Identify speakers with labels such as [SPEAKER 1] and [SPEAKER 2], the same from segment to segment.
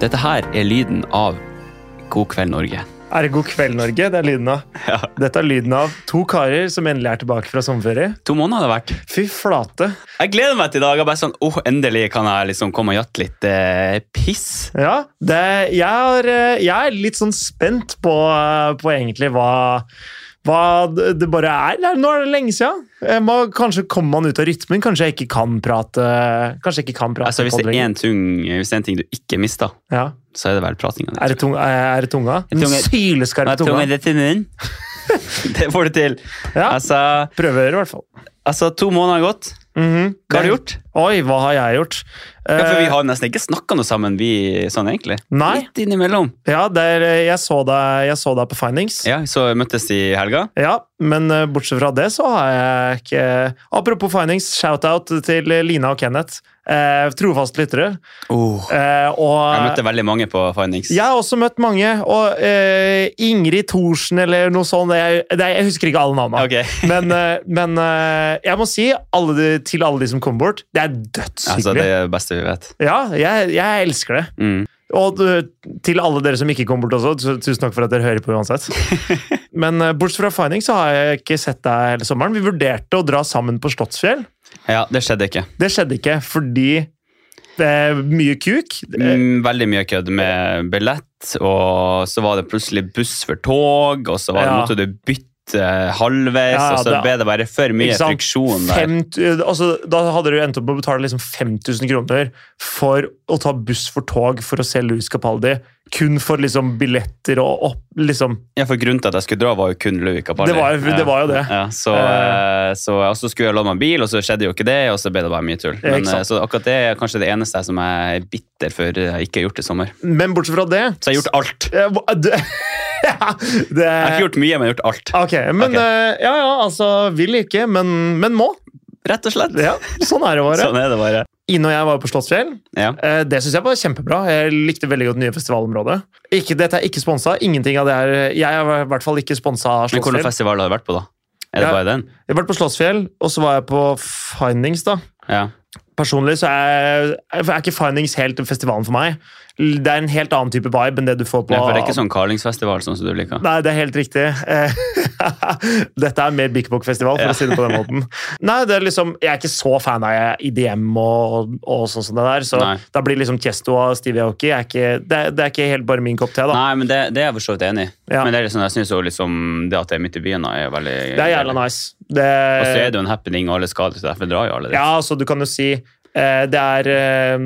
[SPEAKER 1] Dette her er lyden av God kveld, Norge.
[SPEAKER 2] Er det God kveld, Norge? Det er lyden av.
[SPEAKER 1] Ja.
[SPEAKER 2] Dette er lyden av to karer som endelig er tilbake fra sommerferie.
[SPEAKER 1] To måneder har det vært.
[SPEAKER 2] Fy flate.
[SPEAKER 1] Jeg gleder meg til i dag. Jeg er bare sånn, åh, Endelig kan jeg liksom komme og jatte litt eh, piss.
[SPEAKER 2] Ja, det, jeg, har, eh, jeg er litt sånn spent på, eh, på egentlig hva, hva d- det bare er. Det er- Nå er det lenge siden. Jeg må, kanskje kommer man ut av rytmen. Kanskje jeg ikke kan prate. Kanskje jeg ikke kan prate
[SPEAKER 1] Altså, hvis
[SPEAKER 2] på
[SPEAKER 1] det er
[SPEAKER 2] lenger.
[SPEAKER 1] én ting, hvis det er en ting du ikke mister,
[SPEAKER 2] ja.
[SPEAKER 1] så er det vel pratinga.
[SPEAKER 2] er, det tung, eh, er er det tunga? Den
[SPEAKER 1] Tunge-
[SPEAKER 2] sylskarpe
[SPEAKER 1] tunga
[SPEAKER 2] tunga.
[SPEAKER 1] rett i munnen. Det får du til.
[SPEAKER 2] Ja.
[SPEAKER 1] Altså,
[SPEAKER 2] Prøveøret, i hvert fall.
[SPEAKER 1] altså, to måneder har gått.
[SPEAKER 2] Mhm.
[SPEAKER 1] Hva har du
[SPEAKER 2] Det-
[SPEAKER 1] gjort?
[SPEAKER 2] Oi, hva har jeg gjort?
[SPEAKER 1] Ja, for
[SPEAKER 2] Eh,
[SPEAKER 1] vi har nesten ikke snakka noe sammen, vi sånn egentlig.
[SPEAKER 2] Nei.
[SPEAKER 1] Litt innimellom.
[SPEAKER 2] Ja, der, eh, jeg så deg, jeg så deg på Findings.
[SPEAKER 1] Ja, så møttes i helga.
[SPEAKER 2] Ja, men eh, bortsett fra det så har jeg ikke Apropos findings, shout-out til Lina og Kenneth. Eh, trofaste lyttere. Eh,
[SPEAKER 1] Jeg
[SPEAKER 2] og
[SPEAKER 1] møtte veldig mange på Findings.
[SPEAKER 2] jeg har også møtt mange, og eh, Ingrid Thorsen eller noe sånt. Jeg, det, jeg husker ikke alle navnene.
[SPEAKER 1] Ok. Altså,
[SPEAKER 2] Men, eh, men eh, jeg må si alle de, til alle de som kom bort, det er
[SPEAKER 1] Altså,
[SPEAKER 2] dødshyggelig.
[SPEAKER 1] det er det beste vi vet.
[SPEAKER 2] Ja, jeg, jeg elsker det.
[SPEAKER 1] Mm.
[SPEAKER 2] Og eh, til alle dere som ikke kom bort også, tu- tusen takk for at dere hører på uansett. Men eh, bortsett fra Finding så har jeg ikke sett deg hele sommeren. Vi vurderte å dra sammen på Slottsfjell.
[SPEAKER 1] Ja, det skjedde ikke.
[SPEAKER 2] Det skjedde ikke fordi det er mye kuk. Eh,
[SPEAKER 1] Mm, Veldig mye kødd med billett, og så var det plutselig buss for tog, og så var det,
[SPEAKER 2] Ja.
[SPEAKER 1] måtte du bytte halvveis,
[SPEAKER 2] Ja,
[SPEAKER 1] og så
[SPEAKER 2] det-
[SPEAKER 1] ble det bare for mye
[SPEAKER 2] ikke sant?
[SPEAKER 1] friksjon der.
[SPEAKER 2] Fem, eh, altså, da hadde du endt opp med å betale liksom 5000 kroner for å ta buss for tog for å se Louis Capaldi. Kun for liksom billetter og opp, liksom.
[SPEAKER 1] Ja, for grunnen til at jeg skulle dra, var jo kun Louis Capaldi.
[SPEAKER 2] Det var jo- det var jo det.
[SPEAKER 1] Ja, så,
[SPEAKER 2] Eh.
[SPEAKER 1] eh, så, og så skulle jeg låne meg en bil, og så skjedde jo ikke det, og så ble det bare mye tull.
[SPEAKER 2] Ja, ikke
[SPEAKER 1] Men, eh,
[SPEAKER 2] sant.
[SPEAKER 1] så akkurat det er kanskje det eneste som jeg er bitter for jeg ikke har gjort i sommer.
[SPEAKER 2] Men bortsett fra det
[SPEAKER 1] Så jeg har gjort alt.
[SPEAKER 2] Eh, hva- du- ja, det,
[SPEAKER 1] Jeg har ikke gjort mye, men jeg har gjort alt.
[SPEAKER 2] Ok, men
[SPEAKER 1] Ok.
[SPEAKER 2] eh, ja, ja, altså vil ikke, men, men må.
[SPEAKER 1] Rett og slett.
[SPEAKER 2] Ja, sånn er det bare.
[SPEAKER 1] Sånn er det bare.
[SPEAKER 2] Ine og jeg var på Slottsfjell.
[SPEAKER 1] Ja.
[SPEAKER 2] Eh, Det syns jeg var kjempebra. Jeg likte veldig godt det nye festivalområdet. Ikke, dette er ikke sponsa. Ingenting av det er Jeg er i hvert fall ikke sponsa av
[SPEAKER 1] Men hvilken
[SPEAKER 2] Slottsfjell.
[SPEAKER 1] festival har du vært på, da? Er det
[SPEAKER 2] Ja.
[SPEAKER 1] bare den?
[SPEAKER 2] Jeg har vært på Slottsfjell, og så var jeg på Findings, da.
[SPEAKER 1] Ja.
[SPEAKER 2] Personlig så er, er ikke Findings helt festivalen for meg. Det er en helt annen type vibe enn det du får på
[SPEAKER 1] Nei, for det er ikke sånn Carlingsfestival sånn som du liker.
[SPEAKER 2] Nei, det er helt riktig. Eh, Dette er mer Big Book-festival, for å si det på den måten. Nei, det er liksom, Jeg er ikke så fan av IDM og, og sånn som det der, så
[SPEAKER 1] Nei.
[SPEAKER 2] da blir liksom Tiesto og Steve Aoki jeg er ikke, det, er- det er ikke helt bare min kopp te, da.
[SPEAKER 1] Nei, men det, det er jeg for så vidt enig i.
[SPEAKER 2] Ja.
[SPEAKER 1] Men det er liksom, jeg synes jo liksom det at det er midt i byen, da, er veldig
[SPEAKER 2] Det er jævla nice. Det,
[SPEAKER 1] Og så er det jo en happening, og alle skal dit, så derfor drar jo alle dit.
[SPEAKER 2] ja, altså, du kan jo si eh, Det er eh,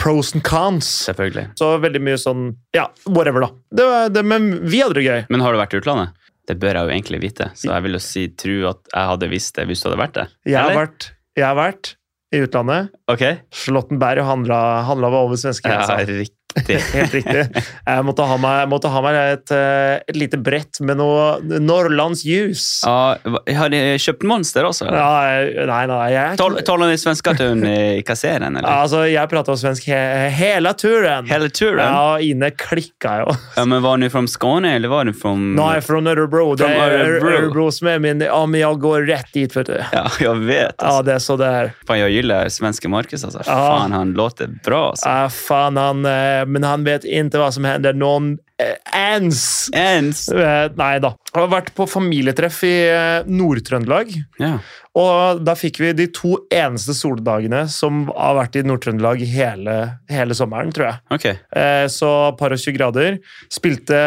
[SPEAKER 2] pros and cons.
[SPEAKER 1] Selvfølgelig.
[SPEAKER 2] Så veldig mye sånn Ja, whatever, da. Det, var- det, men vi hadde det gøy.
[SPEAKER 1] Men har du vært i utlandet? Det bør jeg jo egentlig vite, så jeg vil jo si, tro at jeg hadde visst det hvis du hadde vært det.
[SPEAKER 2] Jeg har, vært, jeg har vært i utlandet.
[SPEAKER 1] Ok?
[SPEAKER 2] Slottenberg handla, handla over svenskegrensa.
[SPEAKER 1] Ja, riktig.
[SPEAKER 2] Helt riktig. Jeg måtte ha meg, jeg måtte ha meg et, eh, et lite brett med noe Norrlandsljus.
[SPEAKER 1] Ja, hva- har de kjøpt Monster også? eller?
[SPEAKER 2] Ja, jeg- nei, nei, jeg,
[SPEAKER 1] Tal- Taler de svenska til hun i kasseren, eller?
[SPEAKER 2] altså, jeg prata svensk he hele turen.
[SPEAKER 1] Hele turen? Mm. Ja.
[SPEAKER 2] Ja, og Ine klikka jo.
[SPEAKER 1] men var du fra Skåne, eller var du fra
[SPEAKER 2] Nå er jeg fra Ørebro. Det
[SPEAKER 1] From
[SPEAKER 2] er
[SPEAKER 1] Örebro.
[SPEAKER 2] Ørebro som er min Ja, men jeg går rett dit, vet du.
[SPEAKER 1] Ja, jeg vet.
[SPEAKER 2] Ja,
[SPEAKER 1] Altså.
[SPEAKER 2] det er så det er.
[SPEAKER 1] Faen, jeg gillar svenske Markus, altså.
[SPEAKER 2] Ja.
[SPEAKER 1] Faen, han låter bra, altså.
[SPEAKER 2] Ja, faen, han eh, Men han vet ikke hva som hender noen eh, ens.
[SPEAKER 1] Ens!
[SPEAKER 2] Eh, Nei da. Jeg har vært på familietreff i eh, Nord-Trøndelag.
[SPEAKER 1] Ja.
[SPEAKER 2] Og da fikk vi de to eneste soldagene som har vært i Nord-Trøndelag hele, hele sommeren, tror jeg.
[SPEAKER 1] Ok.
[SPEAKER 2] Eh, så par og 20 grader. Spilte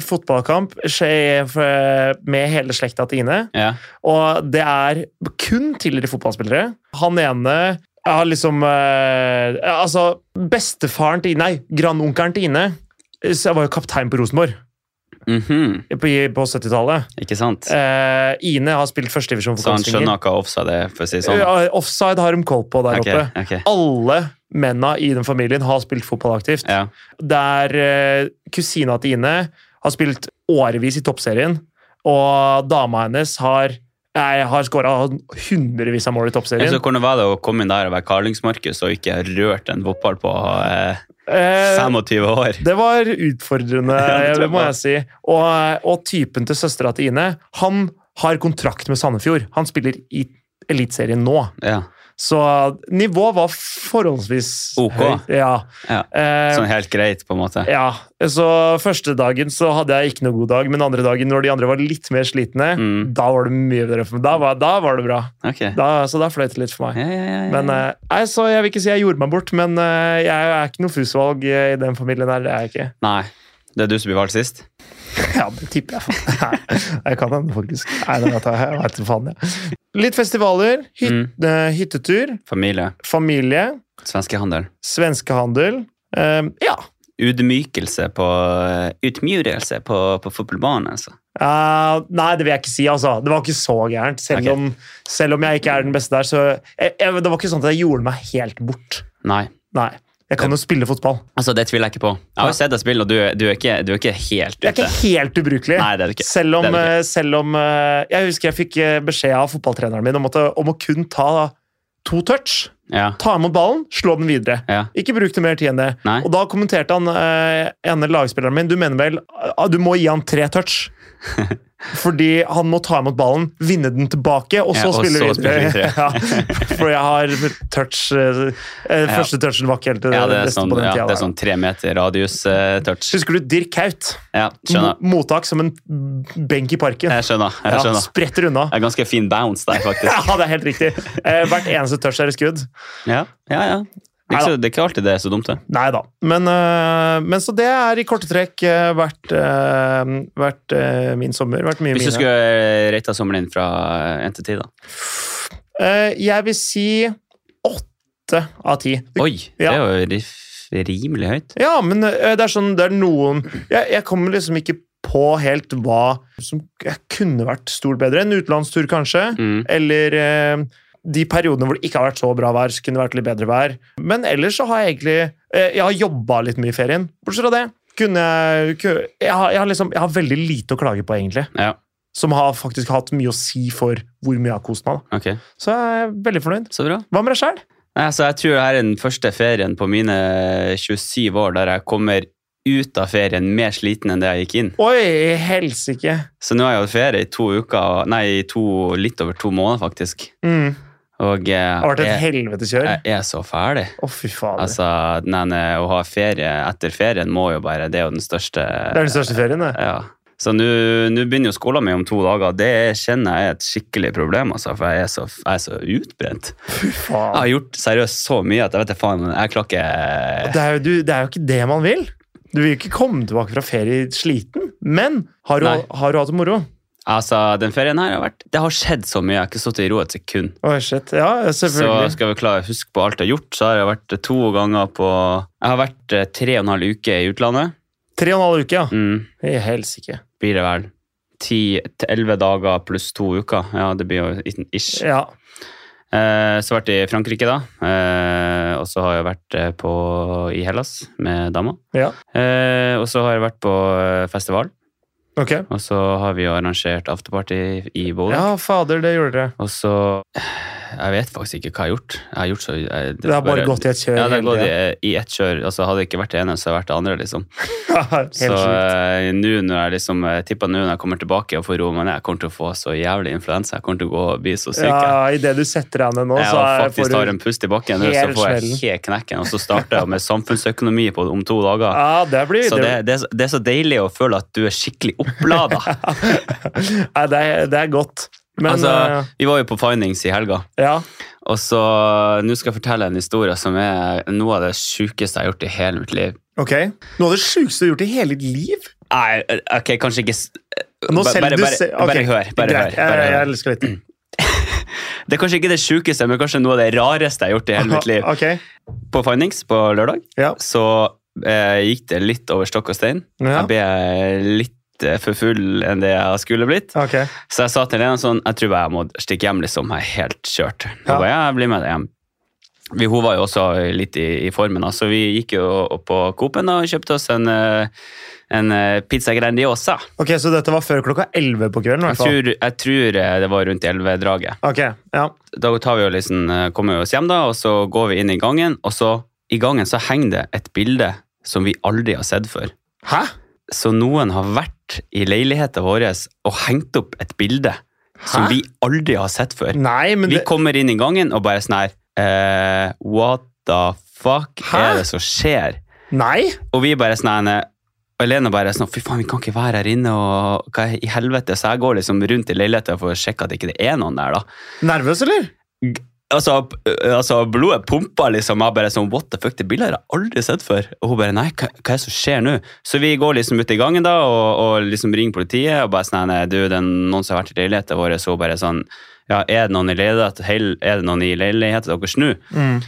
[SPEAKER 2] fotballkamp skje- f- med hele slekta til Ine.
[SPEAKER 1] Ja.
[SPEAKER 2] Og det er kun tidligere fotballspillere. Han ene har liksom eh, Altså, bestefaren til Ine Nei, grandonkelen til Ine eh, så jeg var jo kaptein på Rosenborg
[SPEAKER 1] Mhm.
[SPEAKER 2] på, på 70-tallet.
[SPEAKER 1] Ikke sant?
[SPEAKER 2] Eh, Ine har spilt førstedivisjon for
[SPEAKER 1] Så han
[SPEAKER 2] Kongsvinger.
[SPEAKER 1] skjønner hva offside er, for å si det sånn?
[SPEAKER 2] Ja, Offside har de koll på der
[SPEAKER 1] Ok,
[SPEAKER 2] oppe.
[SPEAKER 1] ok.
[SPEAKER 2] Alle mennene i den familien har spilt fotball aktivt.
[SPEAKER 1] Ja.
[SPEAKER 2] Der eh, kusina til Ine har spilt årevis i toppserien, og dama hennes har Nei, har skåra hundrevis av mål i
[SPEAKER 1] Ja,
[SPEAKER 2] toppserien.
[SPEAKER 1] Så hvordan var det å komme inn der og være Carlings-Markus og ikke ha rørt en fotball på eh,
[SPEAKER 2] Eh,
[SPEAKER 1] 25 år?
[SPEAKER 2] det var utfordrende,
[SPEAKER 1] Ja, det tror jeg
[SPEAKER 2] det må
[SPEAKER 1] på.
[SPEAKER 2] jeg si. Og, og typen til søstera til Ine, han har kontrakt med Sandefjord. Han spiller i Eliteserien nå.
[SPEAKER 1] Ja.
[SPEAKER 2] Så nivået var forholdsvis
[SPEAKER 1] Ok.
[SPEAKER 2] høyt. Ja.
[SPEAKER 1] Ja.
[SPEAKER 2] Eh,
[SPEAKER 1] Sånn helt greit, på en måte.
[SPEAKER 2] ja. Så første dagen så hadde jeg ikke noe god dag, men andre dagen når de andre var litt mer slitne,
[SPEAKER 1] Mm.
[SPEAKER 2] da var det mye bedre for meg. Da var, da var det bra.
[SPEAKER 1] Ok. Ja,
[SPEAKER 2] Da, så da fløyt det litt for meg.
[SPEAKER 1] ja, ja, ja.
[SPEAKER 2] Men eh, nei, så Jeg vil ikke si jeg gjorde meg bort, men eh, jeg er ikke noe fusvalg eh, i den familien her. Det er jeg ikke.
[SPEAKER 1] Nei. Det er du som blir valgt sist?
[SPEAKER 2] Ja, det tipper jeg. faen. Nei, jeg kan hende, faktisk. Nei, det vet jeg, jeg vet det faen, jeg. Litt festivaler, hyt,
[SPEAKER 1] Mm.
[SPEAKER 2] eh, hyttetur,
[SPEAKER 1] Familie.
[SPEAKER 2] familie,
[SPEAKER 1] Svenskehandel.
[SPEAKER 2] svenskehandel. Eh, ja.
[SPEAKER 1] Udmykelse på eh, Utmyrelse på, på fotballbanen, altså.
[SPEAKER 2] Eh, nei, det vil jeg ikke si, altså. Det var ikke så gærent. Selv,
[SPEAKER 1] Ok.
[SPEAKER 2] om, selv om jeg ikke er den beste der, så jeg, jeg, Det var ikke sånn at jeg gjorde meg helt bort.
[SPEAKER 1] Nei.
[SPEAKER 2] Nei. Jeg kan jo spille fotball.
[SPEAKER 1] Altså, Det tviler jeg ikke på. Jeg har jo sett deg spille, og du, er- du, er ikke, du er ikke helt
[SPEAKER 2] Jeg
[SPEAKER 1] ute.
[SPEAKER 2] er ikke helt ubrukelig.
[SPEAKER 1] Nei, det er du ikke.
[SPEAKER 2] Selv om,
[SPEAKER 1] Det er
[SPEAKER 2] eh, selv om eh, Jeg husker jeg fikk eh, beskjed av fotballtreneren min om, at, eh, om å kun ta to touch.
[SPEAKER 1] Ja.
[SPEAKER 2] Ta imot ballen, slå den videre.
[SPEAKER 1] ja.
[SPEAKER 2] Ikke bruk det mer tid enn det.
[SPEAKER 1] Nei.
[SPEAKER 2] Og da kommenterte han eh, ene lagspilleren min Du mener vel ah, du må gi han tre touch? Fordi han må ta imot ballen, vinne den tilbake, og så
[SPEAKER 1] Ja, og
[SPEAKER 2] spille
[SPEAKER 1] så
[SPEAKER 2] videre.
[SPEAKER 1] spille
[SPEAKER 2] ja, for jeg har touch eh, eh,
[SPEAKER 1] Ja.
[SPEAKER 2] Første touchen var ikke helt eh,
[SPEAKER 1] Ja, det er
[SPEAKER 2] beste
[SPEAKER 1] sånn,
[SPEAKER 2] på den
[SPEAKER 1] ja,
[SPEAKER 2] tida
[SPEAKER 1] det er
[SPEAKER 2] der.
[SPEAKER 1] sånn tre meter radius-touch.
[SPEAKER 2] Husker du Dirk Haut?
[SPEAKER 1] ja, skjønner.
[SPEAKER 2] Mo- Mottak som en benk i parken.
[SPEAKER 1] Jeg skjønner.
[SPEAKER 2] Ja,
[SPEAKER 1] jeg skjønner.
[SPEAKER 2] spretter unna.
[SPEAKER 1] Det er ganske fin bounce der, faktisk.
[SPEAKER 2] Ja, det er helt riktig. Eh, hvert eneste touch er et skudd.
[SPEAKER 1] Ja, ja, ja. Det er ikke, så- det er ikke alltid det er så dumt, det.
[SPEAKER 2] Nei da. Men, eh, men så det er i korte trekk eh, vært, eh, vært eh, min sommer. Vært mye
[SPEAKER 1] Hvis du
[SPEAKER 2] mine.
[SPEAKER 1] skulle rate sommeren din fra eh, en til ti, da?
[SPEAKER 2] Eh, jeg vil si åtte av ti.
[SPEAKER 1] Oi, det
[SPEAKER 2] Ja.
[SPEAKER 1] er jo ri- rimelig høyt.
[SPEAKER 2] Ja, men eh, det er sånn det er noen jeg, jeg kommer liksom ikke på helt hva som jeg kunne vært stort bedre. En utenlandstur, kanskje.
[SPEAKER 1] Mm.
[SPEAKER 2] Eller eh, de periodene hvor det ikke har vært så bra vær, så kunne det vært litt bedre vær. Men ellers så har jeg egentlig eh, Jeg har jobba litt mye i ferien. Bortsett fra det kunne jeg ku- jeg har, jeg, har liksom, jeg har veldig lite å klage på, egentlig.
[SPEAKER 1] Ja,
[SPEAKER 2] Som har faktisk hatt mye å si for hvor mye jeg har kost meg. da.
[SPEAKER 1] ok.
[SPEAKER 2] Så jeg er veldig fornøyd.
[SPEAKER 1] Så bra.
[SPEAKER 2] Hva med deg sjæl?
[SPEAKER 1] Nei, altså, jeg tror det her er den første ferien på mine 27 år der jeg kommer ut av ferien mer sliten enn det jeg gikk inn.
[SPEAKER 2] Oi, helsike!
[SPEAKER 1] Så nå har jeg hatt ferie i to uker, nei, i to, litt over to måneder, faktisk.
[SPEAKER 2] Mm. Det
[SPEAKER 1] Og eh,
[SPEAKER 2] har vært et
[SPEAKER 1] jeg,
[SPEAKER 2] helvetekjør. Å,
[SPEAKER 1] jeg er så ferdig.
[SPEAKER 2] fy fader.
[SPEAKER 1] Altså, nei, nei, å ha ferie etter ferien må jo bare Det er jo den største
[SPEAKER 2] det er den største ferien, det.
[SPEAKER 1] Ja. Så nå nå begynner jo skolen min om to dager. Det kjenner jeg er et skikkelig problem, altså, for jeg er så, jeg er så utbrent. Jeg
[SPEAKER 2] Faen.
[SPEAKER 1] har gjort seriøst så mye at jeg vet da faen, jeg klarer ikke
[SPEAKER 2] Det er, jo, du, det er jo ikke det man vil. Du vil jo ikke komme tilbake fra ferie sliten. Men har du,
[SPEAKER 1] Nei.
[SPEAKER 2] har du hatt det moro?
[SPEAKER 1] Altså, den ferien her har vært Det har skjedd så mye. Jeg har ikke sittet i ro et sekund.
[SPEAKER 2] Oi, shit. Ja,
[SPEAKER 1] Så
[SPEAKER 2] selvfølgelig.
[SPEAKER 1] skal vi klare å huske på alt jeg har gjort, så har jeg vært to ganger på Jeg har vært eh, tre og en halv uke i utlandet.
[SPEAKER 2] Tre og en halv uke, ja.
[SPEAKER 1] Mm,
[SPEAKER 2] I helsike.
[SPEAKER 1] blir det vel. Ti til elleve dager pluss to uker. Ja, det blir jo ish.
[SPEAKER 2] Ja.
[SPEAKER 1] Eh, Så vært i Frankrike, da. Eh, Og så har jeg vært eh, på, i Hellas med dama.
[SPEAKER 2] ja.
[SPEAKER 1] Eh, Og så har jeg vært på eh, festival.
[SPEAKER 2] Ok.
[SPEAKER 1] Og så har vi jo arrangert afterparty i Bodø.
[SPEAKER 2] Ja, fader, det gjorde dere.
[SPEAKER 1] Og så Jeg vet faktisk ikke hva jeg har gjort. Jeg har gjort så jeg,
[SPEAKER 2] Det har bare gått i et kjør.
[SPEAKER 1] ja, det har
[SPEAKER 2] hele
[SPEAKER 1] gått i,
[SPEAKER 2] tiden.
[SPEAKER 1] i ett kjør. Altså, hadde jeg ikke vært det ene, så hadde jeg vært det andre. liksom.
[SPEAKER 2] Helt
[SPEAKER 1] Så
[SPEAKER 2] sjukt.
[SPEAKER 1] eh, nå når jeg liksom, jeg tipper nå når jeg kommer tilbake og får roe meg ned, jeg kommer til å få så jævlig influensa. Jeg kommer til å gå og bli så syk.
[SPEAKER 2] Ja,
[SPEAKER 1] jeg.
[SPEAKER 2] Idet du setter deg ned nå,
[SPEAKER 1] Jeg
[SPEAKER 2] så
[SPEAKER 1] har
[SPEAKER 2] er-
[SPEAKER 1] faktisk
[SPEAKER 2] får
[SPEAKER 1] tar
[SPEAKER 2] du
[SPEAKER 1] en pust i bakken, nå, så
[SPEAKER 2] helt
[SPEAKER 1] får jeg
[SPEAKER 2] smellen.
[SPEAKER 1] helt knekken. Og så starter jeg med samfunnsøkonomi på, om to dager.
[SPEAKER 2] Ja, det blir
[SPEAKER 1] Så det, det, er så- det er så deilig å føle at du er skikkelig opplada.
[SPEAKER 2] Nei, det, er, det er godt. Men
[SPEAKER 1] altså, vi var jo på Findings i helga,
[SPEAKER 2] eh, ja.
[SPEAKER 1] og så nå skal jeg fortelle en historie som er noe av det sjukeste jeg har gjort i hele mitt liv.
[SPEAKER 2] Ok. Noe av det sjukeste du har gjort i hele ditt liv?
[SPEAKER 1] Nei, ok, kanskje ikke s-
[SPEAKER 2] Nå
[SPEAKER 1] Ba-
[SPEAKER 2] selv
[SPEAKER 1] bare,
[SPEAKER 2] du
[SPEAKER 1] bare,
[SPEAKER 2] se- ok.
[SPEAKER 1] bare hør. Bare hør,
[SPEAKER 2] Greit. Jeg,
[SPEAKER 1] bare
[SPEAKER 2] jeg,
[SPEAKER 1] hør.
[SPEAKER 2] elsker litt.
[SPEAKER 1] Det er kanskje ikke det sjukeste, men kanskje noe av det rareste jeg har gjort i hele mitt liv.
[SPEAKER 2] Ok.
[SPEAKER 1] På Findings på lørdag
[SPEAKER 2] Ja.
[SPEAKER 1] så eh, gikk det litt over stokk og stein.
[SPEAKER 2] Ja.
[SPEAKER 1] Jeg ble litt eh, for full enn det jeg skulle blitt.
[SPEAKER 2] Ok.
[SPEAKER 1] Så jeg sa til Lena sånn, jeg tror bare jeg må stikke hjem, liksom. Jeg er helt kjørt. Hun
[SPEAKER 2] Ja.
[SPEAKER 1] ba, ja, jeg blir med deg hjem. Vi, hun var jo også litt i, i formen, da, så vi gikk jo opp på Coop-en da, og kjøpte oss en, eh, en eh, pizza grandiosa.
[SPEAKER 2] Ok, Så dette var før klokka 11 på kvelden? i
[SPEAKER 1] Jeg
[SPEAKER 2] hvert fall.
[SPEAKER 1] tror, jeg tror eh, det var rundt 11-draget.
[SPEAKER 2] Ok, ja.
[SPEAKER 1] Da tar vi jo liksom, eh, kommer vi oss hjem, da, og så går vi inn i gangen, og så i gangen så henger det et bilde som vi aldri har sett før.
[SPEAKER 2] Hæ?
[SPEAKER 1] Så noen har vært i leiligheten vår og hengt opp et bilde som
[SPEAKER 2] Hæ?
[SPEAKER 1] vi aldri har sett før.
[SPEAKER 2] Nei, men
[SPEAKER 1] Vi
[SPEAKER 2] det,
[SPEAKER 1] kommer inn i gangen og bare sånn her eh, What the fuck
[SPEAKER 2] Hæ?
[SPEAKER 1] er det som skjer?
[SPEAKER 2] Nei!
[SPEAKER 1] Og vi bare sånn her, og Elena bare sånn Fy faen, vi kan ikke være her inne, og hva i helvete? Så jeg går liksom rundt i leiligheten for å sjekke at ikke det er noen der, da.
[SPEAKER 2] Nervøs, eller?
[SPEAKER 1] Altså, p- altså blodet pumpa liksom. Jeg bare sånn, what the fuck, det bildet har jeg aldri sett før. Og hun bare, nei, hva, hva er det som skjer nå? Så vi går liksom ut i gangen da, og, og liksom ringer politiet, og bare sånn, nei, du, det er noen som har vært i leiligheten vår, så hun bare sånn, ja, er det noen i leiligheten, heil- er det noen i leiligheten deres nå?
[SPEAKER 2] Mm.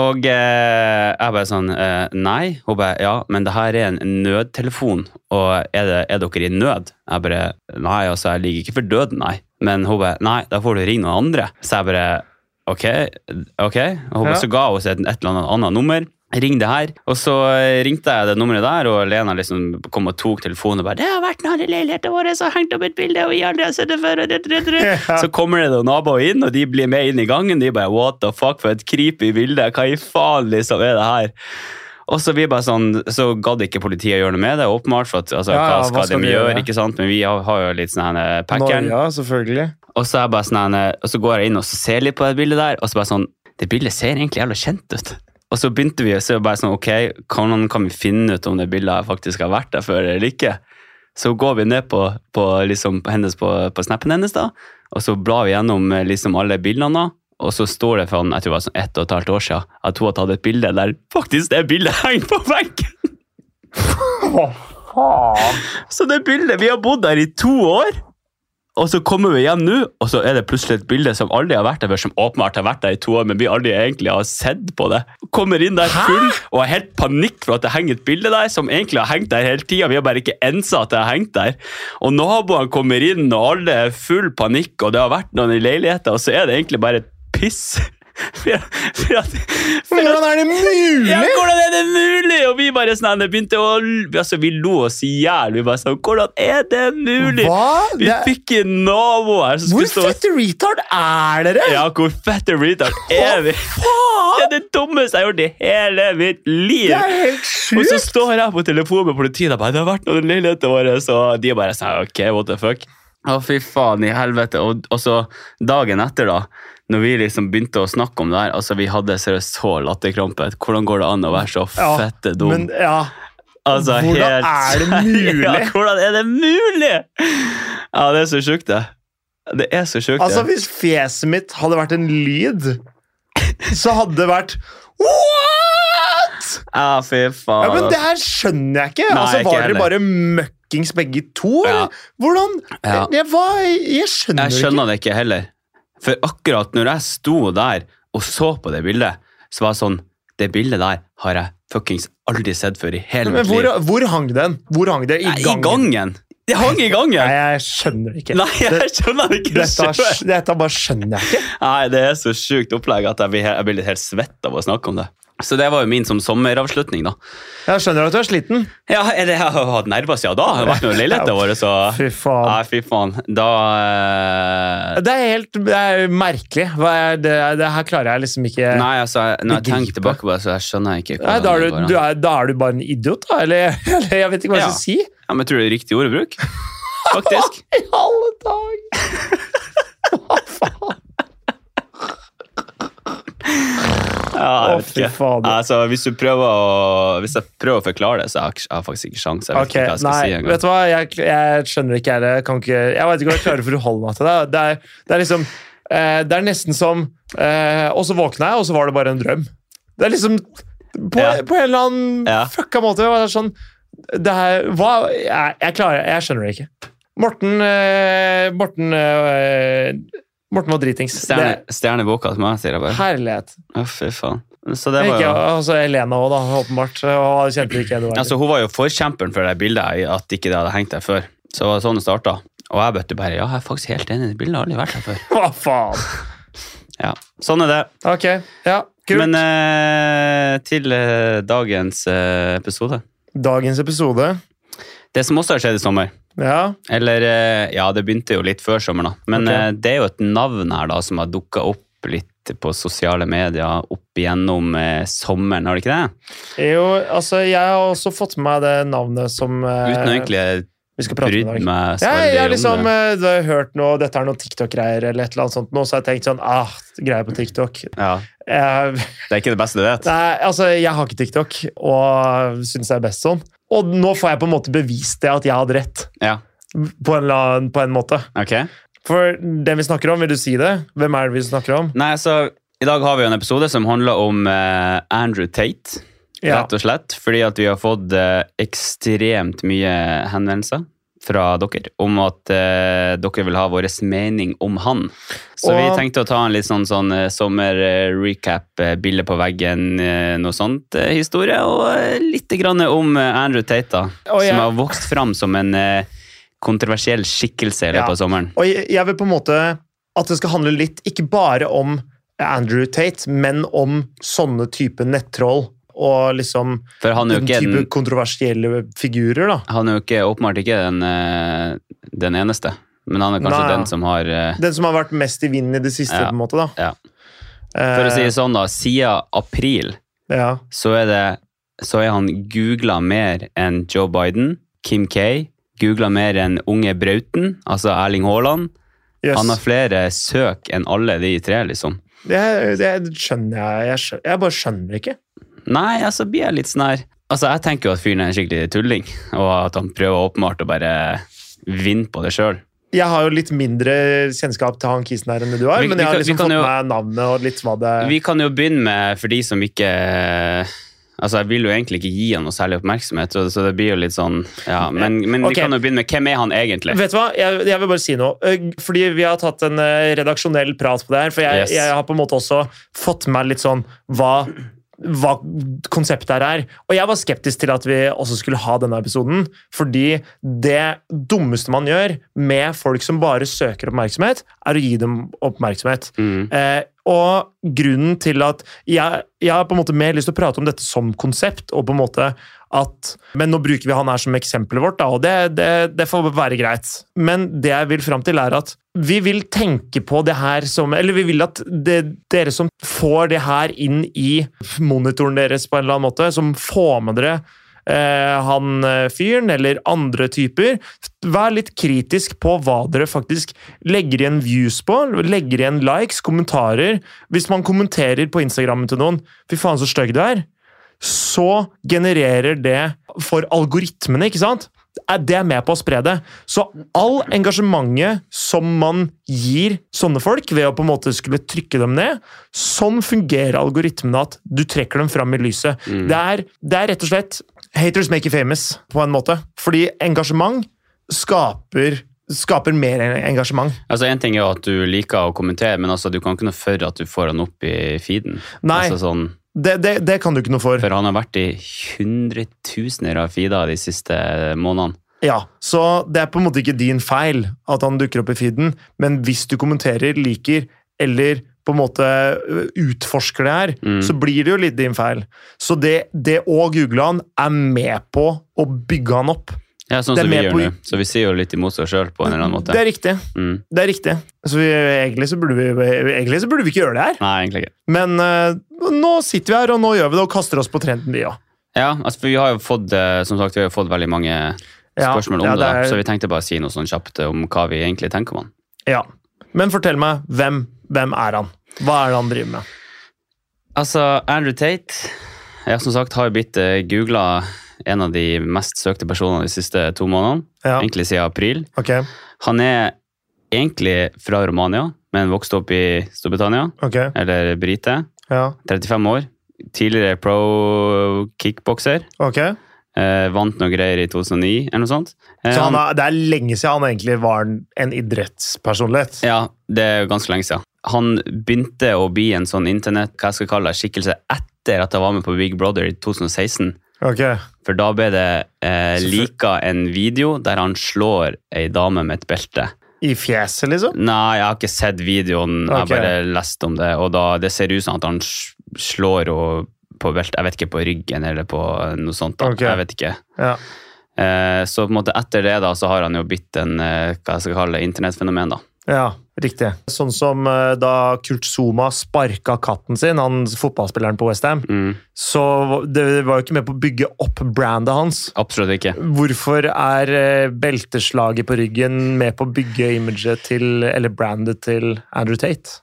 [SPEAKER 1] Og eh, jeg bare sånn, eh, nei. Hun bare, ja, men det her er en nødtelefon, og er, det, er dere i nød? Jeg bare, nei, altså, jeg ligger ikke for døden, nei. Men hun bare, nei, da får du ringe noen andre. Så jeg bare, ok, ok. Og hun
[SPEAKER 2] Ja.
[SPEAKER 1] bare, så ga hun seg et eller annet, annet nummer. Ring det her. Og så ringte jeg det nummeret der, og Lena liksom kom og tok telefonen og bare 'Det har vært noen i leiligheten vår som har hengt opp et bilde, og vi aldri har sett det før.' og det, det, det, det.»
[SPEAKER 2] Ja.
[SPEAKER 1] Så kommer det noen naboer inn, og de blir med inn i gangen. De bare 'what the fuck, for et creepy bilde'. Hva i faen liksom er det her? Og så vi bare sånn, så gadd ikke politiet gjøre noe med det, åpenbart. for at, altså,
[SPEAKER 2] Ja, ja,
[SPEAKER 1] hva, skal de gjøre,
[SPEAKER 2] gjøre?
[SPEAKER 1] ikke sant? Men vi har, har jo litt sånn her, eh, packeren.
[SPEAKER 2] Norge, selvfølgelig.
[SPEAKER 1] Og så, er jeg bare sånn, her, og så går jeg inn og så ser litt på det bildet der, og så bare sånn Det bildet ser egentlig jævla kjent ut. Og så begynte vi å se bare sånn, ok, hvordan kan vi finne ut om det bildet her faktisk har vært der før eller ikke? Så går vi ned på, på, liksom, på hennes, på, på snappen hennes, da, og så blar vi gjennom eh, liksom, alle bildene. da, Og så står det fra jeg tror det var sånn ett og et halvt år siden at hun har tatt et bilde der faktisk det bildet henger på benken!
[SPEAKER 2] Hva faen?
[SPEAKER 1] Så det bildet, vi har bodd der i to år, og så kommer vi hjem nå, og så er det plutselig et bilde som aldri har vært der før, som åpenbart har vært der i to år, men vi aldri egentlig har sett på det. Kommer inn der full og har helt panikk for at det henger et bilde der, som egentlig har hengt der hele tida, vi har bare ikke ensa at det har hengt der. Og naboene kommer inn, og alle er full panikk, og det har vært noen i leiligheten, og så er det egentlig bare piss. For, for at, for at
[SPEAKER 2] Hvordan er det mulig?
[SPEAKER 1] ja, hvordan er det mulig? Og vi bare sånn, det begynte å, altså vi lo oss i hjel. Vi bare sånn, hvordan er det mulig?
[SPEAKER 2] Hva?
[SPEAKER 1] Vi
[SPEAKER 2] Det-
[SPEAKER 1] fikk en nabo her som
[SPEAKER 2] Hvor
[SPEAKER 1] skulle stå og
[SPEAKER 2] fette retard er dere?
[SPEAKER 1] ja, hvor fette retard er vi? Det er det dummeste jeg har gjort i hele mitt liv.
[SPEAKER 2] Det er helt
[SPEAKER 1] Og så
[SPEAKER 2] sjukt!
[SPEAKER 1] står jeg på telefonen med politiet og bare, det har vært noen i leiligheten vår, så de bare sånn, ok, what the fuck. Å fy faen i helvete. Og, og så dagen etter da, når vi liksom begynte å snakke om det her, altså vi hadde seriøst så latterkrampe. Hvordan går det an å være så
[SPEAKER 2] Ja,
[SPEAKER 1] fette dum?
[SPEAKER 2] Men ja,
[SPEAKER 1] altså,
[SPEAKER 2] hvordan
[SPEAKER 1] helt,
[SPEAKER 2] er det mulig?
[SPEAKER 1] Ja, hvordan er det mulig? Ja, det er så sjukt det. Det er så sjukt
[SPEAKER 2] altså
[SPEAKER 1] det.
[SPEAKER 2] hvis fjeset mitt hadde vært en lyd, så hadde det vært What?!
[SPEAKER 1] Ja, fy faen.
[SPEAKER 2] Ja, men
[SPEAKER 1] altså.
[SPEAKER 2] det her skjønner jeg ikke.
[SPEAKER 1] Nei,
[SPEAKER 2] altså,
[SPEAKER 1] ikke
[SPEAKER 2] Var dere
[SPEAKER 1] heller.
[SPEAKER 2] bare møkkings begge to?
[SPEAKER 1] Ja.
[SPEAKER 2] eller? Hvordan?
[SPEAKER 1] Ja.
[SPEAKER 2] Jeg, jeg, jeg
[SPEAKER 1] Jeg
[SPEAKER 2] skjønner det ikke.
[SPEAKER 1] skjønner det ikke heller. For akkurat når jeg sto der og så på det bildet, så var jeg sånn Det bildet der har jeg fuckings aldri sett før i hele
[SPEAKER 2] Men
[SPEAKER 1] mitt
[SPEAKER 2] hvor,
[SPEAKER 1] liv.
[SPEAKER 2] hvor hang den? Hvor hang det? I
[SPEAKER 1] Nei, I
[SPEAKER 2] gangen?
[SPEAKER 1] gangen! Det hang i
[SPEAKER 2] Nei,
[SPEAKER 1] gangen!
[SPEAKER 2] jeg skjønner det ikke.
[SPEAKER 1] Nei, jeg skjønner det ikke
[SPEAKER 2] Dette,
[SPEAKER 1] sjøl!
[SPEAKER 2] dette bare skjønner jeg ikke.
[SPEAKER 1] Nei, det er så sjukt opplegg at jeg blir, he- jeg blir litt helt svett av å snakke om det. Så det var jo min som sommeravslutning, da.
[SPEAKER 2] Jeg skjønner at du er sliten.
[SPEAKER 1] Ja, eller jeg har hatt nerver siden da. Jeg har vært med i leiligheten vår, så
[SPEAKER 2] Fy faen.
[SPEAKER 1] Nei, fy faen. Da eh,
[SPEAKER 2] Det er helt det er merkelig. Hva er det, det her klarer jeg liksom ikke Nei,
[SPEAKER 1] Nei, altså, når jeg tenker
[SPEAKER 2] begripe.
[SPEAKER 1] tilbake på det, så jeg skjønner jeg ikke
[SPEAKER 2] da, er
[SPEAKER 1] det
[SPEAKER 2] du,
[SPEAKER 1] går an.
[SPEAKER 2] du er, da er du bare en idiot, da? Eller, eller jeg vet ikke hva jeg
[SPEAKER 1] Ja.
[SPEAKER 2] skal si.
[SPEAKER 1] Ja, men tror du det er riktig ordbruk? Faktisk.
[SPEAKER 2] I alle dager! Hva faen?
[SPEAKER 1] Ja, jeg
[SPEAKER 2] Å,
[SPEAKER 1] vet
[SPEAKER 2] fy
[SPEAKER 1] ikke.
[SPEAKER 2] fader.
[SPEAKER 1] Altså, hvis, du prøver å, hvis jeg prøver å forklare det, så har jeg ikke- jeg har faktisk ikke sjans. Jeg vet
[SPEAKER 2] Ok,
[SPEAKER 1] ikke hva jeg skal
[SPEAKER 2] nei,
[SPEAKER 1] si engang.
[SPEAKER 2] vet du hva? Jeg, jeg skjønner ikke, jeg det. Kan ikke Jeg vet ikke hva jeg klarer å forholde meg til det. Det er, det er liksom eh, Det er nesten som eh, Og så våkna jeg, og så var det bare en drøm. Det er liksom På,
[SPEAKER 1] Ja.
[SPEAKER 2] på en eller annen
[SPEAKER 1] Ja.
[SPEAKER 2] fucka måte. Det er sånn det er, hva, jeg, jeg klarer Jeg skjønner det ikke. Morten eh, Morten eh, Morten var dritings.
[SPEAKER 1] Stjerne,
[SPEAKER 2] Det-
[SPEAKER 1] stjerneboka til meg, sier jeg bare.
[SPEAKER 2] Herlighet.
[SPEAKER 1] Å, fy faen. Så det var
[SPEAKER 2] Ikke,
[SPEAKER 1] jo...
[SPEAKER 2] altså Elena òg, da, åpenbart. Og kjente ikke Edvard.
[SPEAKER 1] Altså, hun var jo forkjemperen for det bildet, her, at ikke det hadde hengt der før. Så det var sånn det startet. Og jeg bøtte bare, ja, jeg er faktisk helt enig, det bildet har aldri vært der før.
[SPEAKER 2] Hva faen?
[SPEAKER 1] Ja, sånn er det.
[SPEAKER 2] Ok, ja, kult.
[SPEAKER 1] Men eh, til eh, dagens eh, episode.
[SPEAKER 2] Dagens episode
[SPEAKER 1] Det som også har skjedd i sommer,
[SPEAKER 2] Ja,
[SPEAKER 1] Eller eh, Ja, det begynte jo litt før sommeren, da. Men
[SPEAKER 2] Ok.
[SPEAKER 1] eh, det er jo et navn her da som har dukka opp litt på sosiale medier opp igjennom eh, sommeren, har det ikke det?
[SPEAKER 2] jo, altså jeg har også fått med meg det navnet som eh,
[SPEAKER 1] Uten å egentlig
[SPEAKER 2] vi skal prate
[SPEAKER 1] Brydd
[SPEAKER 2] med i dag.
[SPEAKER 1] meg så
[SPEAKER 2] Ja, jeg har
[SPEAKER 1] veldig
[SPEAKER 2] liksom
[SPEAKER 1] om det.
[SPEAKER 2] eh, da har jeg hørt noe, dette er noe TikTok-greier, eller et eller annet sånt, nå, så har jeg tenkt sånn ah, greier på TikTok.
[SPEAKER 1] Ja,
[SPEAKER 2] Eh,
[SPEAKER 1] det er ikke det beste du vet.
[SPEAKER 2] Nei, altså, jeg har ikke TikTok, og syns det er best sånn. Og nå får jeg på en måte bevist det at jeg hadde rett,
[SPEAKER 1] Ja,
[SPEAKER 2] på en, la- på en måte.
[SPEAKER 1] ok.
[SPEAKER 2] For den vi snakker om, vil du si det? Hvem er det vi snakker om?
[SPEAKER 1] Nei, så i dag har vi jo en episode som handler om eh, Andrew Tate,
[SPEAKER 2] Ja.
[SPEAKER 1] rett og slett. Fordi at vi har fått eh, ekstremt mye henvendelser fra dere om at eh, dere vil ha vår mening om han. Så vi
[SPEAKER 2] Og-
[SPEAKER 1] tenkte å ta en litt sånn, sånn sommer-recap, bilde på veggen, eh, noe sånt eh, historie. Og eh, litt grann om eh, Andrew Tate, da,
[SPEAKER 2] Og jeg-
[SPEAKER 1] som har vokst fram som en eh, kontroversiell skikkelse i løpet
[SPEAKER 2] Ja.
[SPEAKER 1] av sommeren.
[SPEAKER 2] Og jeg, jeg vil på en måte at det skal handle litt, ikke bare om Andrew Tate, men om sånne type nettroll. Og liksom
[SPEAKER 1] For han er jo
[SPEAKER 2] den
[SPEAKER 1] ikke
[SPEAKER 2] type
[SPEAKER 1] den
[SPEAKER 2] kontroversielle figurer, da.
[SPEAKER 1] Han er jo ikke, åpenbart ikke den, eh, den eneste, men han er kanskje
[SPEAKER 2] Nei.
[SPEAKER 1] den som har eh,
[SPEAKER 2] Den som har vært mest i vinden i det siste,
[SPEAKER 1] Ja.
[SPEAKER 2] på en måte. da. Eh,
[SPEAKER 1] ja. For å si det sånn, da. Siden april
[SPEAKER 2] Ja.
[SPEAKER 1] så er, det, så er han googla mer enn Joe Biden, Kim K. Googla mer enn Unge Brauten, altså Erling Haaland.
[SPEAKER 2] Yes.
[SPEAKER 1] Han har flere søk enn alle de tre, liksom.
[SPEAKER 2] det, det skjønner jeg. Jeg, skjønner, jeg bare skjønner ikke.
[SPEAKER 1] Nei, altså blir jeg litt sånn her Altså, jeg tenker jo at fyren er en skikkelig tulling, og at han prøver åpenbart å bare vinne på det sjøl.
[SPEAKER 2] Jeg har jo litt mindre kjennskap til han kisen her enn det du har,
[SPEAKER 1] Vi-
[SPEAKER 2] men
[SPEAKER 1] vi
[SPEAKER 2] jeg har
[SPEAKER 1] kan- vi
[SPEAKER 2] liksom
[SPEAKER 1] kan
[SPEAKER 2] fått
[SPEAKER 1] jo-
[SPEAKER 2] med navnet og litt hva det
[SPEAKER 1] Vi kan jo begynne med, for de som ikke Altså, Jeg vil jo egentlig ikke gi han noe særlig oppmerksomhet, så, så det blir jo litt sånn ja, Men, men
[SPEAKER 2] Ok.
[SPEAKER 1] vi kan jo begynne med hvem er han egentlig?
[SPEAKER 2] Vet du hva, jeg, jeg vil bare si noe. Eh, Fordi vi har tatt en eh, redaksjonell prat på det her, for jeg,
[SPEAKER 1] Yes.
[SPEAKER 2] jeg har på en måte også fått med litt sånn hva hva konseptet her er. Og jeg var skeptisk til at vi også skulle ha denne episoden, fordi det dummeste man gjør med folk som bare søker oppmerksomhet, er å gi dem oppmerksomhet.
[SPEAKER 1] Mm.
[SPEAKER 2] Eh, og grunnen til at jeg, jeg har på en måte mer lyst til å prate om dette som konsept, og på en måte at Men nå bruker vi han her som eksempelet vårt, da, og det, det, det får være greit. Men det jeg vil fram til, er at vi vil tenke på det her som Eller vi vil at det, dere som får det her inn i monitoren deres på en eller annen måte, som får med dere eh, han eh, fyren eller andre typer. Vær litt kritisk på hva dere faktisk legger igjen views på. Legger igjen likes, kommentarer. Hvis man kommenterer på Instagrammen til noen 'fy faen, så stygg du er', så genererer det for algoritmene, ikke sant? Er det er med på å spre det. Så all engasjementet som man gir sånne folk, ved å på en måte skulle trykke dem ned, sånn fungerer algoritmene at du trekker dem fram i lyset.
[SPEAKER 1] Mm.
[SPEAKER 2] Det, er, det er rett og slett haters make you famous, på en måte. Fordi engasjement skaper, skaper mer en- engasjement.
[SPEAKER 1] Altså, Én ting er jo at du liker å kommentere, men altså, du kan ikke noe for at du får han opp i feeden.
[SPEAKER 2] Nei.
[SPEAKER 1] Altså, sånn,
[SPEAKER 2] Det, det, det kan du ikke noe for.
[SPEAKER 1] for han har vært i hundretusener av feeder de siste månedene.
[SPEAKER 2] Ja, så det er på en måte ikke din feil at han dukker opp i feeden, men hvis du kommenterer, liker eller på en måte ø, utforsker det her,
[SPEAKER 1] Mm.
[SPEAKER 2] så blir det jo litt din feil. Så det, det å google han er med på å bygge han opp.
[SPEAKER 1] Ja, sånn
[SPEAKER 2] Det er
[SPEAKER 1] som vi
[SPEAKER 2] med
[SPEAKER 1] gjør
[SPEAKER 2] på-
[SPEAKER 1] nå. Så vi sier jo litt imot oss sjøl på en eller annen måte.
[SPEAKER 2] Det er riktig.
[SPEAKER 1] Mm.
[SPEAKER 2] det er riktig. Så vi, egentlig, så burde vi, egentlig så burde vi ikke gjøre det her,
[SPEAKER 1] Nei, egentlig ikke.
[SPEAKER 2] men ø, nå sitter vi her, og nå gjør vi det, og kaster oss på trenden vi òg.
[SPEAKER 1] Ja, altså, for vi har jo fått, eh, som sagt, vi har jo fått veldig mange spørsmål om det, da. så vi tenkte bare å si noe sånn kjapt om hva vi egentlig tenker om han.
[SPEAKER 2] ja. Men fortell meg, hvem, hvem er han? Hva er det han driver med?
[SPEAKER 1] Altså, Andrew Tate jeg som sagt har jo blitt uh, googla en av de mest søkte personene de siste to månedene,
[SPEAKER 2] Ja,
[SPEAKER 1] egentlig siden april.
[SPEAKER 2] ok,
[SPEAKER 1] Han er egentlig fra Romania, men vokste opp i Storbritannia,
[SPEAKER 2] ok,
[SPEAKER 1] eller brite.
[SPEAKER 2] ja,
[SPEAKER 1] 35 år. Tidligere pro kickbokser.
[SPEAKER 2] ok.
[SPEAKER 1] eh, vant noe greier i 2009, eller noe sånt. Eh,
[SPEAKER 2] Så han er, det er lenge siden han egentlig var en, en idrettspersonlighet.
[SPEAKER 1] Ja, det er jo ganske lenge siden. Han begynte å bli en sånn internett, hva jeg skal kalle det, skikkelse etter at jeg var med på Big Brother i 2016.
[SPEAKER 2] Ok,
[SPEAKER 1] For da ble det eh,
[SPEAKER 2] Så for-
[SPEAKER 1] lika en video der han slår ei dame med et belte.
[SPEAKER 2] I fjeset, liksom?
[SPEAKER 1] Nei, jeg har ikke sett videoen, jeg har
[SPEAKER 2] Ok.
[SPEAKER 1] bare lest om det, og da, det ser ut som at han s- slår henne på beltet, jeg vet ikke, på ryggen eller på noe sånt, da.
[SPEAKER 2] Ok.
[SPEAKER 1] jeg vet ikke.
[SPEAKER 2] Ja.
[SPEAKER 1] Eh, så på en måte etter det da, så har han jo blitt en, eh, hva jeg skal kalle det, internettfenomen da.
[SPEAKER 2] ja. Riktig. Sånn som eh, da Kurt Zuma sparka katten sin, han fotballspilleren på Westham,
[SPEAKER 1] Mm,
[SPEAKER 2] så det var jo ikke med på å bygge opp brandet hans.
[SPEAKER 1] absolutt ikke.
[SPEAKER 2] Hvorfor er eh, belteslaget på ryggen med på å bygge imaget til, eller brandet til Andrew Tate?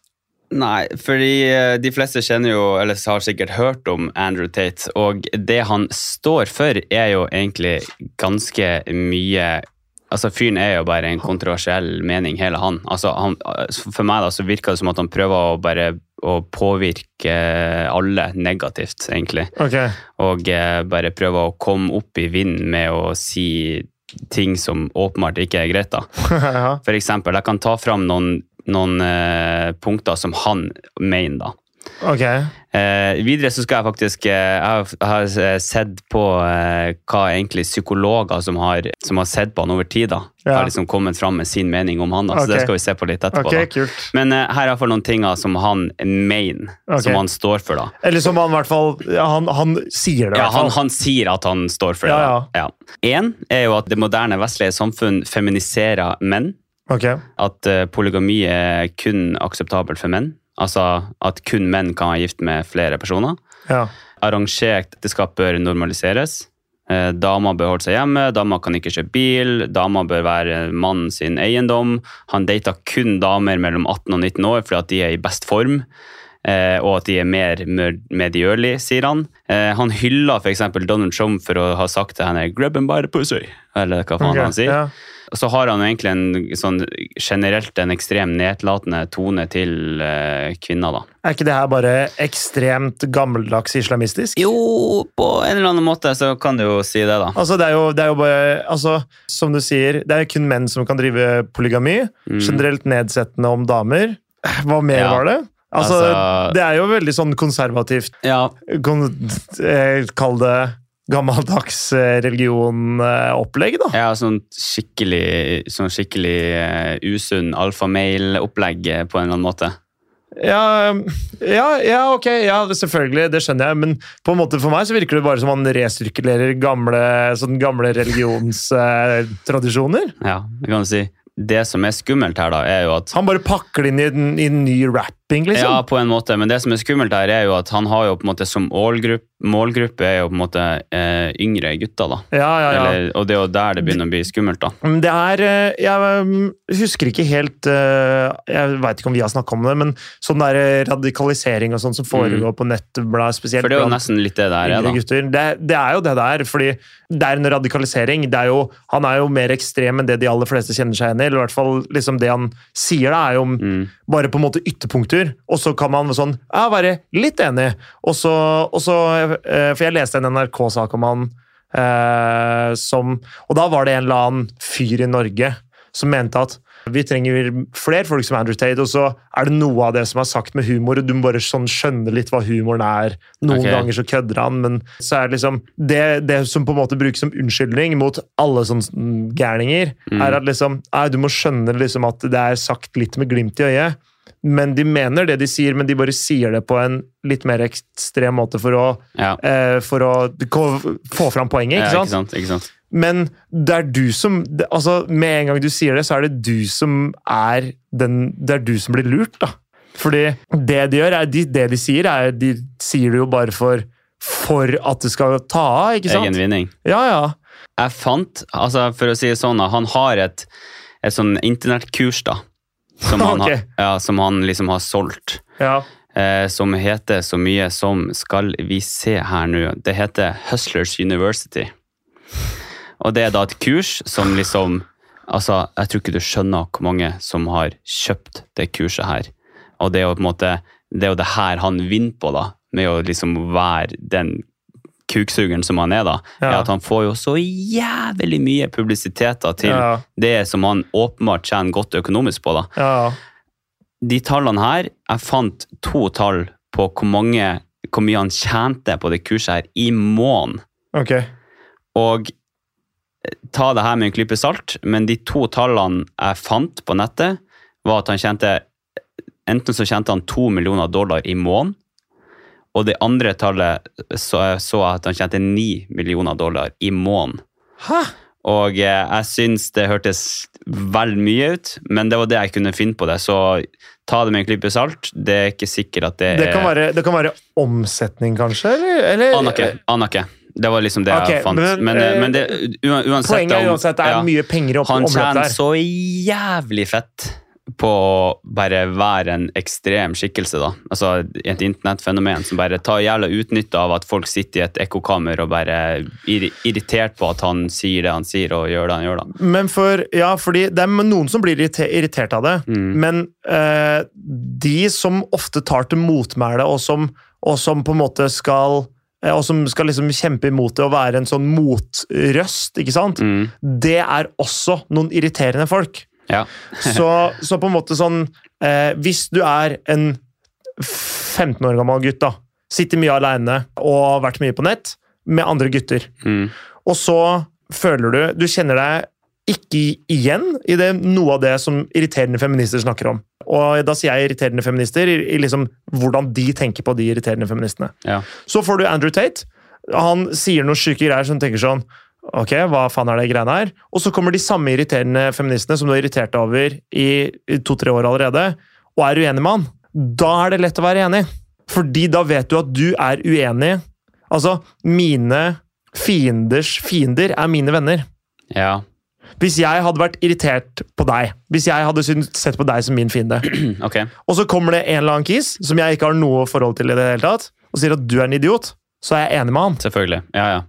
[SPEAKER 1] Nei, fordi eh, de fleste kjenner jo, eller har sikkert hørt om Andrew Tate, og det han står for er jo egentlig ganske mye Altså, fyren er jo bare en kontroversiell mening, hele han. Altså, han for meg da, så virker det som at han prøver å bare å påvirke alle negativt, egentlig.
[SPEAKER 2] Ok,
[SPEAKER 1] Og eh, bare prøver å komme opp i vinden med å si ting som åpenbart ikke er greit, da.
[SPEAKER 2] ja.
[SPEAKER 1] For eksempel, jeg kan ta fram noen, noen eh, punkter som han mener, da.
[SPEAKER 2] ok.
[SPEAKER 1] Eh, videre så skal jeg faktisk eh, Jeg har, jeg har eh, sett på eh, hva egentlig psykologer som har, som har sett på han over tid, da.
[SPEAKER 2] Ja.
[SPEAKER 1] Har liksom kommet fram med sin mening om han, da. Så
[SPEAKER 2] Ok.
[SPEAKER 1] det skal vi se på litt etterpå.
[SPEAKER 2] Ok,
[SPEAKER 1] da.
[SPEAKER 2] kult.
[SPEAKER 1] Men eh, her er iallfall noen ting da, som han mener,
[SPEAKER 2] Ok.
[SPEAKER 1] som han står for, da.
[SPEAKER 2] Eller som han i hvert fall ja, han, han sier det, i
[SPEAKER 1] Ja,
[SPEAKER 2] hvert
[SPEAKER 1] han,
[SPEAKER 2] fall.
[SPEAKER 1] han sier at han står for det.
[SPEAKER 2] Ja,
[SPEAKER 1] da. ja. En er jo at det moderne vestlige samfunn feminiserer menn.
[SPEAKER 2] Ok,
[SPEAKER 1] at eh, polygami er kun akseptabelt for menn. Altså at kun menn kan være gift med flere personer.
[SPEAKER 2] ja.
[SPEAKER 1] Arrangert ekteskap bør normaliseres. Eh, Damer bør holde seg hjemme, damer kan ikke kjøre bil, damer bør være mannen sin eiendom. Han data kun damer mellom 18 og 19 år fordi at de er i best form. eh, Og at de er mer mer- medgjørlig, sier han. Eh, Han hyller f.eks. Donald Trump for å ha sagt til henne 'grab him by the pussy', eller hva faen
[SPEAKER 2] ok,
[SPEAKER 1] han sier.
[SPEAKER 2] ja.
[SPEAKER 1] Og så har han jo egentlig en sånn generelt en ekstrem nedlatende tone til eh, kvinner, da.
[SPEAKER 2] Er ikke det her bare ekstremt gammeldags islamistisk?
[SPEAKER 1] Jo, på en eller annen måte så kan du jo si det, da.
[SPEAKER 2] Altså, det er jo, det er jo bare, altså, som du sier, det er jo kun menn som kan drive polygami. Generelt nedsettende om damer. Hva mer
[SPEAKER 1] Mm. Ja.
[SPEAKER 2] var det? Altså,
[SPEAKER 1] Altså-
[SPEAKER 2] det er jo veldig sånn konservativt,
[SPEAKER 1] Ja,
[SPEAKER 2] kon eh, kall det gammeldags eh, religion-opplegg, da.
[SPEAKER 1] jeg har sånn skikkelig, sånn skikkelig eh, usunn alfamail-opplegg eh, på en eller annen måte.
[SPEAKER 2] Ja, ja, ja, ok, ja, selvfølgelig, det skjønner jeg, men på en måte for meg så virker det bare som man resirkulerer gamle, sånn gamle religionstradisjoner.
[SPEAKER 1] Ja, det kan du si. Det som er skummelt her, da, er jo at
[SPEAKER 2] Han bare pakker det inn i en, i en ny rapping, liksom.
[SPEAKER 1] Ja, på en måte, men det som er skummelt her, er jo at han har jo på en måte som målgruppe, målgruppe er jo på en måte eh, yngre gutter, da.
[SPEAKER 2] Ja, ja, ja.
[SPEAKER 1] Eller, og det er jo der det begynner å bli skummelt, da.
[SPEAKER 2] Men Det er eh, Jeg um, husker ikke helt eh, Jeg veit ikke om vi har snakka om det, men sånn der eh, radikalisering og sånn som foregår på nettet, bla, spesielt
[SPEAKER 1] Mm. For det er jo
[SPEAKER 2] blant
[SPEAKER 1] nesten litt det der er, da.
[SPEAKER 2] yngre gutter, det, det er jo det det er. Fordi det er en radikalisering. Det er jo, han er jo mer ekstrem enn det de aller fleste kjenner seg igjen i. Eller i hvert fall liksom det han sier, da, er jo
[SPEAKER 1] Mm.
[SPEAKER 2] bare på en måte ytterpunkter. Og så kan man sånn, ja, være litt enig. Og så, og så eh, For jeg leste en NRK-sak om han eh, som Og da var det en eller annen fyr i Norge som mente at vi trenger flere folk som Andrew Tate, og så er det noe av det som er sagt med humor, og du må bare sånn skjønne litt hva humoren er. Noen
[SPEAKER 1] Ok.
[SPEAKER 2] ganger så kødder han, men så er det liksom Det, det som på en måte brukes som unnskyldning mot alle sånne gærninger, er at liksom Nei, du må skjønne liksom at det er sagt litt med glimt i øyet. Men de mener det de sier, men de bare sier det på en litt mer ekstrem måte for å,
[SPEAKER 1] Ja.
[SPEAKER 2] eh, for å ko- få fram poenget,
[SPEAKER 1] Ja,
[SPEAKER 2] ikke sant?
[SPEAKER 1] Ikke sant?
[SPEAKER 2] Men det er du som det- altså Med en gang du sier det, så er det du som er den Det er du som blir lurt, da. Fordi det de gjør, er de, det de sier, er De sier det jo bare for for at det skal ta av, ikke sant?
[SPEAKER 1] Egen vinning.
[SPEAKER 2] Ja, ja.
[SPEAKER 1] Jeg fant, altså for å si det sånn, da, han har et, et sånn internettkurs, da. Som han,
[SPEAKER 2] Ok.
[SPEAKER 1] har, ja, som han liksom har solgt.
[SPEAKER 2] Ja,
[SPEAKER 1] Eh, som heter så mye som Skal vi se her nå. Det heter Hustlers University. Og det er da et kurs som liksom Altså, jeg tror ikke du skjønner hvor mange som har kjøpt det kurset her. Og det er jo på en måte Det er jo det her han vinner på, da. Med å liksom være den kuksugeren som han er, da.
[SPEAKER 2] Ja.
[SPEAKER 1] Er at han får jo så jævlig mye publisitet da, til
[SPEAKER 2] Ja.
[SPEAKER 1] det som han åpenbart tjener godt økonomisk på, da
[SPEAKER 2] ja.
[SPEAKER 1] de tallene her, jeg fant to tall på hvor, mange, hvor mye han tjente på det kurset her i måneden.
[SPEAKER 2] Ok.
[SPEAKER 1] Og eh, ta det her med en klype salt, men de to tallene jeg fant på nettet, var at han tjente Enten så tjente han to millioner dollar i måneden, og det andre tallet så jeg så at han tjente ni millioner dollar i måneden.
[SPEAKER 2] Hæ?
[SPEAKER 1] Og eh, jeg syns det hørtes vel mye ut, men det var det jeg kunne finne på det. Så ta det med en klype salt. Det er ikke sikkert at det,
[SPEAKER 2] Det kan,
[SPEAKER 1] er
[SPEAKER 2] være, det kan være omsetning, kanskje? Eller? eller
[SPEAKER 1] Aner ikke. Aner ikke. Det var liksom det
[SPEAKER 2] Ok,
[SPEAKER 1] jeg fant.
[SPEAKER 2] men,
[SPEAKER 1] Men, eh,
[SPEAKER 2] eh,
[SPEAKER 1] men det, u- uansett
[SPEAKER 2] Poenget er
[SPEAKER 1] om-
[SPEAKER 2] uansett det er
[SPEAKER 1] ja.
[SPEAKER 2] mye penger opp
[SPEAKER 1] Han
[SPEAKER 2] omløp
[SPEAKER 1] tjener
[SPEAKER 2] der.
[SPEAKER 1] så jævlig fett på å bare være en ekstrem skikkelse, da. Altså et internettfenomen som bare tar jævla utnytte av at folk sitter i et ekkokammer og bare ir irritert på at han sier det han sier og gjør det han gjør, da.
[SPEAKER 2] Men for, ja, fordi det er noen som blir irrite- irritert av det, men eh, de som ofte tar til motmæle, og som, og som på en måte skal eh, og som skal liksom kjempe imot det og være en sånn motrøst, ikke sant?
[SPEAKER 1] Mm.
[SPEAKER 2] Det er også noen irriterende folk.
[SPEAKER 1] Ja.
[SPEAKER 2] Så, så på en måte sånn eh, Hvis du er en 15 år gammel gutt, da, sitter mye aleine og har vært mye på nett med andre gutter,
[SPEAKER 1] Mm.
[SPEAKER 2] og så føler du Du kjenner deg ikke igjen i det, noe av det som irriterende feminister snakker om. Og da sier jeg irriterende feminister i, i liksom hvordan de tenker på de irriterende feministene.
[SPEAKER 1] ja.
[SPEAKER 2] Så får du Andrew Tate. Han sier noen syke greier som tenker sånn Ok, hva faen er det greiene her? Og så kommer de samme irriterende feministene som du har irritert deg over i i to-tre år allerede, og er uenig med han. Da er det lett å være enig. Fordi da vet du at du er uenig. Altså, mine fienders fiender er mine venner.
[SPEAKER 1] ja.
[SPEAKER 2] Hvis jeg hadde vært irritert på deg, hvis jeg hadde syntes- sett på deg som min fiende,
[SPEAKER 1] Ok.
[SPEAKER 2] og så kommer det en eller annen kis som jeg ikke har noe forhold til i det hele tatt, og sier at du er en idiot, så er jeg enig med han.
[SPEAKER 1] Selvfølgelig. Ja, ja.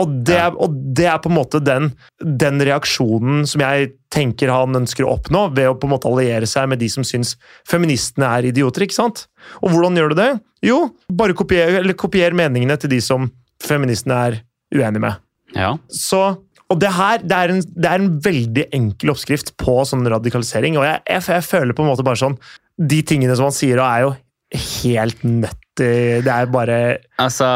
[SPEAKER 2] Og det, er- og det er på en måte den, den reaksjonen som jeg tenker han ønsker å oppnå, ved å på en måte alliere seg med de som syns feministene er idioter. ikke sant? Og hvordan gjør du det? Jo, bare kopier, eller kopier meningene til de som feministene er uenige med.
[SPEAKER 1] ja.
[SPEAKER 2] Så, og det her det er, en, det er en veldig enkel oppskrift på sånn radikalisering. Og jeg, jeg, jeg føler på en måte bare sånn De tingene som han sier, er jo helt nøtti. Det er bare
[SPEAKER 1] Altså,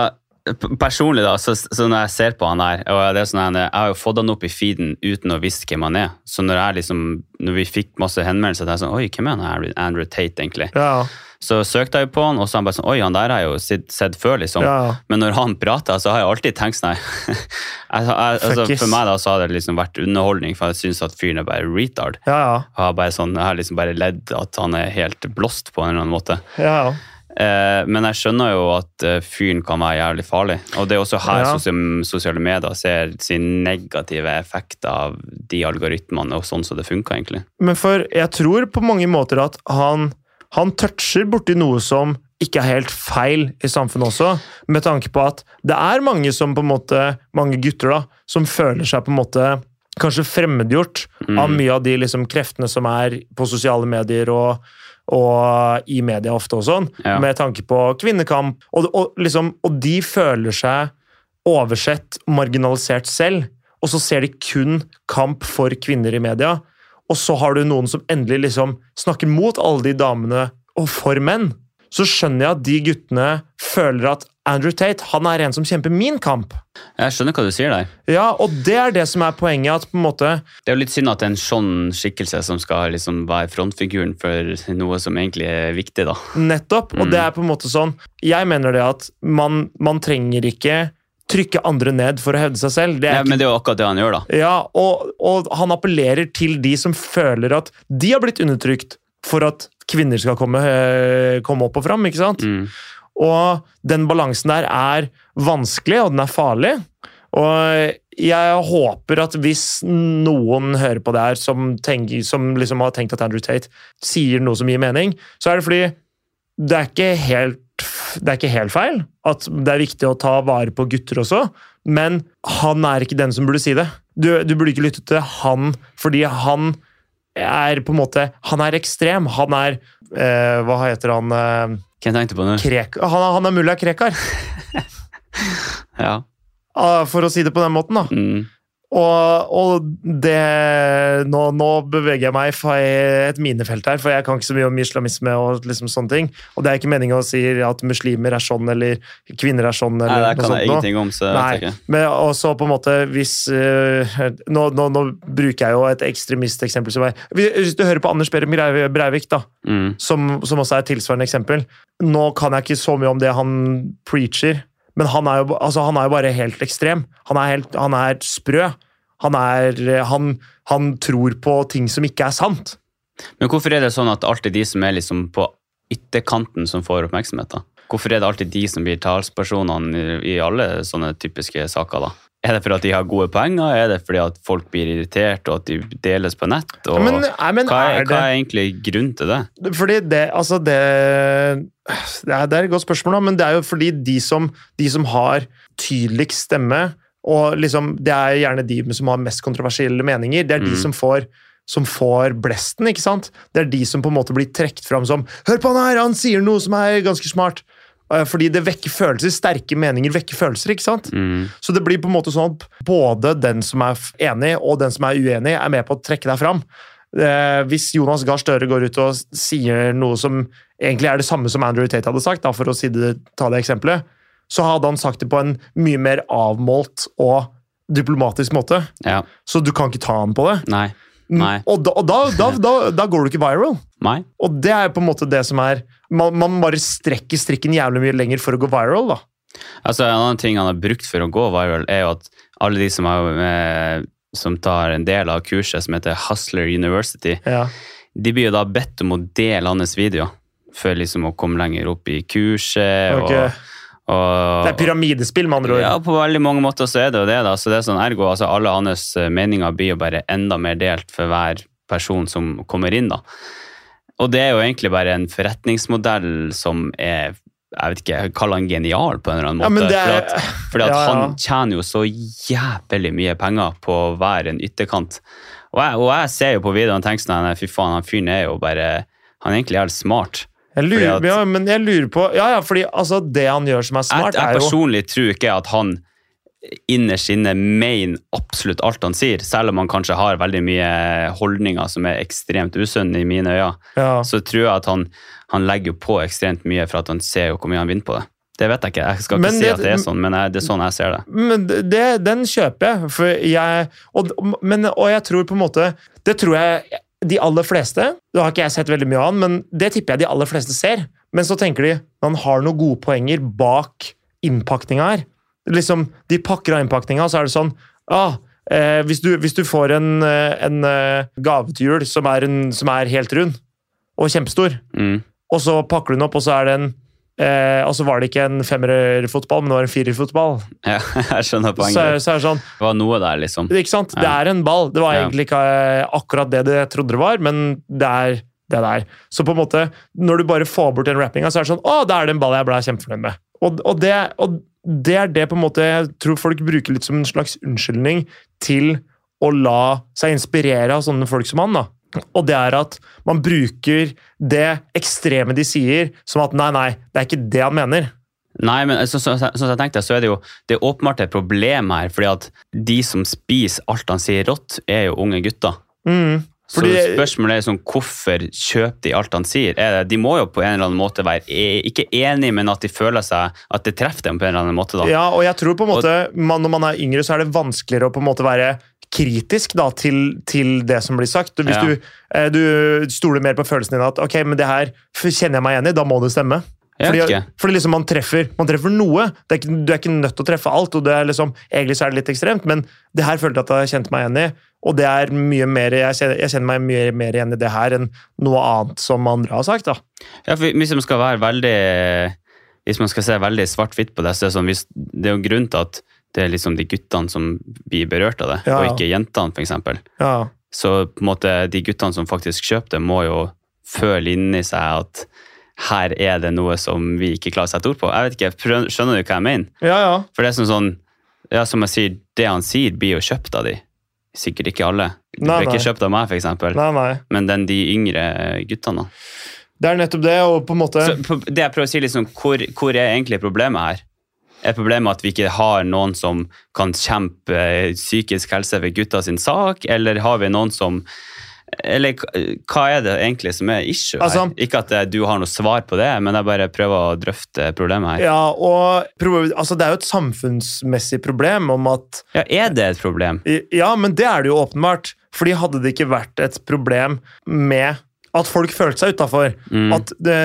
[SPEAKER 1] p- personlig da, så, så når jeg ser på han her, og det er sånn her, jeg har jo fått han opp i feeden uten å visste hvem han er, så når jeg liksom, når vi fikk masse henvendelser, så er jeg sånn, oi, hvem er han her, Andrew Tate egentlig?
[SPEAKER 2] Ja,
[SPEAKER 1] Så søkte jeg jo på han, og så er han bare sånn, oi, han der har jeg jo sett, sett før liksom.
[SPEAKER 2] ja.
[SPEAKER 1] Men når han prater, så har jeg alltid tenkt sånn, nei. altså, jeg, altså,
[SPEAKER 2] Fuckis.
[SPEAKER 1] for meg da, så har det liksom vært underholdning, for jeg synes at fyren er bare retard.
[SPEAKER 2] Ja,
[SPEAKER 1] Og jeg har bare sånn, jeg har liksom bare ledd at han er helt blåst på en eller annen måte.
[SPEAKER 2] ja. ja.
[SPEAKER 1] Eh, men jeg skjønner jo at eh, fyren kan være jævlig farlig. Og det er også her
[SPEAKER 2] Ja.
[SPEAKER 1] sosial- sosiale medier ser sin negative effekt av de algoritmene og sånn som det funker, egentlig.
[SPEAKER 2] Men for jeg tror på mange måter at han, han toucher borti noe som ikke er helt feil i samfunnet også, med tanke på at det er mange som på en måte, mange gutter da, som føler seg på en måte kanskje fremmedgjort av mye av de liksom kreftene som er på sosiale medier og, og i media ofte og sånn,
[SPEAKER 1] Ja.
[SPEAKER 2] med tanke på kvinnekamp, og, og, liksom, og de føler seg oversett, marginalisert selv, og så ser de kun kamp for kvinner i media. Og så har du noen som endelig liksom snakker mot alle de damene og for menn. Så skjønner jeg at de guttene føler at Andrew Tate han er en som kjemper min kamp.
[SPEAKER 1] Jeg skjønner hva du sier der.
[SPEAKER 2] Ja, Og det er det som er poenget. at på en måte,
[SPEAKER 1] Det er jo litt synd at det er en sånn skikkelse som skal liksom være frontfiguren for noe som egentlig er viktig, da.
[SPEAKER 2] Nettopp. Og det er på en måte sånn Jeg mener det at man, man trenger ikke trykke andre ned for å hevde seg selv. Det er
[SPEAKER 1] Ja, men det er jo akkurat det han gjør, da.
[SPEAKER 2] Ja, og, og han appellerer til de som føler at de har blitt undertrykt for at kvinner skal komme, eh, komme opp og fram, ikke sant?
[SPEAKER 1] Mm.
[SPEAKER 2] Og den balansen der er vanskelig, og den er farlig. Og jeg håper at hvis noen hører på det her som, tenker, som liksom har tenkt at Andrew Tate sier noe som gir mening, så er det fordi det er ikke helt det er ikke helt feil at det er viktig å ta vare på gutter også, men han er ikke den som burde si det. Du, du burde ikke lytte til han, fordi han er på en måte Han er ekstrem. Han er eh, Hva heter han? Eh,
[SPEAKER 1] Hva tenkte du på nå?
[SPEAKER 2] Krek, han, han er mulla Krekar,
[SPEAKER 1] Ja.
[SPEAKER 2] ah, for å si det på den måten. da.
[SPEAKER 1] Mm.
[SPEAKER 2] Og, og det nå, nå beveger jeg meg fra et minefelt her, for jeg kan ikke så mye om islamisme og liksom sånne ting. Og det er ikke meningen å si at muslimer er sånn, eller kvinner er sånn,
[SPEAKER 1] Nei,
[SPEAKER 2] eller
[SPEAKER 1] det kan
[SPEAKER 2] noe
[SPEAKER 1] jeg
[SPEAKER 2] sånt. nå.
[SPEAKER 1] ingenting om, så jeg vet
[SPEAKER 2] Nei,
[SPEAKER 1] ikke.
[SPEAKER 2] men også på en måte hvis eh, nå, nå, nå bruker jeg jo et ekstremisteksempel som er Hvis hvis du hører på Anders Behring Breivik, Breivik, da,
[SPEAKER 1] Mm.
[SPEAKER 2] som, som også er et tilsvarende eksempel. Nå kan jeg ikke så mye om det han preacher, men han er jo, altså, han er jo bare helt ekstrem. Han er, helt, han er sprø. Han, er, han, han tror på ting som ikke er sant.
[SPEAKER 1] Men hvorfor er det sånn at alltid de som er liksom på ytterkanten som får oppmerksomhet? da? Hvorfor er det alltid de som blir talspersonene i i alle sånne typiske saker? da? Er det fordi at de har gode poenger? Er det fordi at folk blir irritert, og at de deles på nett? Og
[SPEAKER 2] Men, nei, men
[SPEAKER 1] hva, er, hva
[SPEAKER 2] er det
[SPEAKER 1] er egentlig grunnen til det?
[SPEAKER 2] Fordi det Altså, det Det er, det er et godt spørsmål, da, men det er jo fordi de som, de som har tydeligst stemme, og liksom Det er gjerne de som har mest kontroversielle meninger. Det er de
[SPEAKER 1] Mm.
[SPEAKER 2] som får som får blesten, ikke sant? Det er de som på en måte blir trukket fram som 'Hør på han her, han sier noe som er ganske smart'. Eh, Fordi det vekker følelser. Sterke meninger vekker følelser, ikke sant?
[SPEAKER 1] Mm.
[SPEAKER 2] Så det blir på en måte sånn at både den som er f- enig og den som er uenig, er med på å trekke deg fram. Eh, hvis Jonas Gahr Støre går ut og s- sier noe som egentlig er det samme som Andrew Tate hadde sagt, da, for å si det, ta det eksempelet, så hadde han sagt det på en mye mer avmålt og diplomatisk måte.
[SPEAKER 1] Ja.
[SPEAKER 2] Så du kan ikke ta han på det.
[SPEAKER 1] Nei. Nei.
[SPEAKER 2] Og, da, og da, da, da, da går du ikke viral.
[SPEAKER 1] Nei.
[SPEAKER 2] Og det er på en måte det som er Man, man bare strekker strikken jævlig mye lenger for å gå viral, da.
[SPEAKER 1] Altså, en annen ting han har brukt for å gå viral, er jo at alle de som, er, eh, som tar en del av kurset som heter Hustler University,
[SPEAKER 2] Ja.
[SPEAKER 1] De blir jo da bedt om å dele hans videoer for liksom å komme lenger opp i kurset.
[SPEAKER 2] Ok.
[SPEAKER 1] Eh, Og, og,
[SPEAKER 2] Det er pyramidespill, med andre ord.
[SPEAKER 1] Ja, på veldig mange måter så er det jo det. da. Så det er sånn Ergo altså alle hans eh, meninger blir jo bare enda mer delt for hver person som kommer inn. da. Og det er jo egentlig bare en forretningsmodell som er jeg vet ikke, jeg kaller han genial på en eller annen
[SPEAKER 2] Ja,
[SPEAKER 1] måte.
[SPEAKER 2] men det er-
[SPEAKER 1] fordi at, fordi at
[SPEAKER 2] Ja, ja.
[SPEAKER 1] han tjener jo så jævlig mye penger på hver en ytterkant. Og jeg, og jeg ser jo på videoen og tenker sånn nei, Fy faen, han fyren er jo bare Han er egentlig jævlig smart.
[SPEAKER 2] Jeg lurer,
[SPEAKER 1] Fordi at-
[SPEAKER 2] ja, men jeg lurer på Ja, ja, fordi altså, det han gjør som er smart,
[SPEAKER 1] jeg,
[SPEAKER 2] er
[SPEAKER 1] jeg
[SPEAKER 2] jo
[SPEAKER 1] personlig tror ikke at han innerst inne mener absolutt alt han sier, selv om han kanskje har veldig mye holdninger som er ekstremt usunne i mine øyne.
[SPEAKER 2] ja.
[SPEAKER 1] Så tror jeg at han, han legger jo på ekstremt mye for at han ser jo hvor mye han vinner på det. Det vet jeg ikke. Jeg skal ikke
[SPEAKER 2] Men
[SPEAKER 1] si
[SPEAKER 2] det-
[SPEAKER 1] at det er sånn, men jeg, det er sånn jeg ser det.
[SPEAKER 2] Men det, den kjøper jeg, for jeg og, men, og jeg tror på en måte Det tror jeg de aller fleste Det har ikke jeg sett veldig mye av han, men det tipper jeg de aller fleste ser. Men så tenker de han har noen gode poenger bak innpakninga her. Liksom, De pakker av innpakninga, og så er det sånn ah, eh, hvis, du, hvis du får en, eh, en eh, gave til jul som er, en, som er helt rund og kjempestor
[SPEAKER 1] Mm.
[SPEAKER 2] og så pakker du den opp, og så er det en eh, og så var det ikke en femmerfotball, men det var en firerfotball.
[SPEAKER 1] Ja, jeg skjønner
[SPEAKER 2] Så,
[SPEAKER 1] poenget.
[SPEAKER 2] så er det sånn,
[SPEAKER 1] Det var noe der, liksom.
[SPEAKER 2] ikke sant? Det
[SPEAKER 1] Ja.
[SPEAKER 2] er en ball. Det var
[SPEAKER 1] Ja.
[SPEAKER 2] egentlig ikke eh, akkurat det jeg trodde det var, men det er det det er. Så på en måte, når du bare får bort den rappinga, så er det sånn Å, da er det en ball jeg ble kjempefornøyd med. Og, og, det, og det er det på en måte jeg tror folk bruker litt som en slags unnskyldning til å la seg inspirere av sånne folk som han. da. Og det er at man bruker det ekstreme de sier, som at nei, nei, det er ikke det han mener.
[SPEAKER 1] Nei, men så, så, så, så jeg tenkte, så er det jo det er åpenbart et problem her, fordi at de som spiser alt han sier rått, er jo unge gutter.
[SPEAKER 2] Mm. Fordi-
[SPEAKER 1] så spørsmålet er sånn, hvorfor kjøper de alt han sier? Er det, de må jo på en eller annen måte være e- ikke enig, men at de føler seg at det treffer dem på en eller annen måte. da.
[SPEAKER 2] Ja, og jeg tror på en måte man, Når man er yngre, så er det vanskeligere å på en måte være kritisk da, til, til det som blir sagt. Hvis
[SPEAKER 1] Ja.
[SPEAKER 2] du, eh, du stoler mer på følelsen din at ok, men det her f- kjenner jeg meg igjen i, da må det stemme.
[SPEAKER 1] Jeg
[SPEAKER 2] Fordi,
[SPEAKER 1] vet ikke.
[SPEAKER 2] fordi liksom man treffer, man treffer noe. Det er ikke, du er ikke nødt til å treffe alt. og det er liksom, Egentlig så er det litt ekstremt, men det her følte jeg at jeg kjente meg igjen i. Og det er mye mer, jeg kjenner, jeg kjenner meg mye mer igjen i det her enn noe annet som andre har sagt. da.
[SPEAKER 1] Ja, for hvis man skal være veldig hvis man skal se veldig svart-hvitt på det, så er det, sånn, hvis, det er jo en grunn til at det er liksom de guttene som blir berørt av det,
[SPEAKER 2] Ja,
[SPEAKER 1] og
[SPEAKER 2] ja.
[SPEAKER 1] ikke jentene, for eksempel.
[SPEAKER 2] Ja.
[SPEAKER 1] Så på en måte, de guttene som faktisk kjøper det, må jo føle inni seg at her er det noe som vi ikke klarer å sette ord på. Jeg vet ikke, prø- Skjønner du hva jeg mener?
[SPEAKER 2] ja, ja.
[SPEAKER 1] For det er sånn sånn Ja, som jeg sier, det han sier, blir jo kjøpt av de. Sikkert ikke alle. Det
[SPEAKER 2] Nei,
[SPEAKER 1] blir ikke
[SPEAKER 2] nei.
[SPEAKER 1] kjøpt av meg, for eksempel.
[SPEAKER 2] Nei, nei.
[SPEAKER 1] Men den de yngre guttene. da.
[SPEAKER 2] Det er nettopp det, og på en måte
[SPEAKER 1] Så på- det jeg prøver å si, liksom, hvor, hvor er egentlig problemet her? Er problemet at vi ikke har noen som kan kjempe eh, psykisk helse ved gutta sin sak, eller har vi noen som Eller k- hva er det egentlig som er issue her?
[SPEAKER 2] Altså-
[SPEAKER 1] ikke at eh, du har noe svar på det, men jeg bare prøver å drøfte problemet her.
[SPEAKER 2] Ja, og pro- altså, det er jo et samfunnsmessig problem om at
[SPEAKER 1] Ja, er det et problem?
[SPEAKER 2] i- Ja, men det er det jo åpenbart. Fordi hadde det ikke vært et problem med at folk følte seg utafor,
[SPEAKER 1] Mm,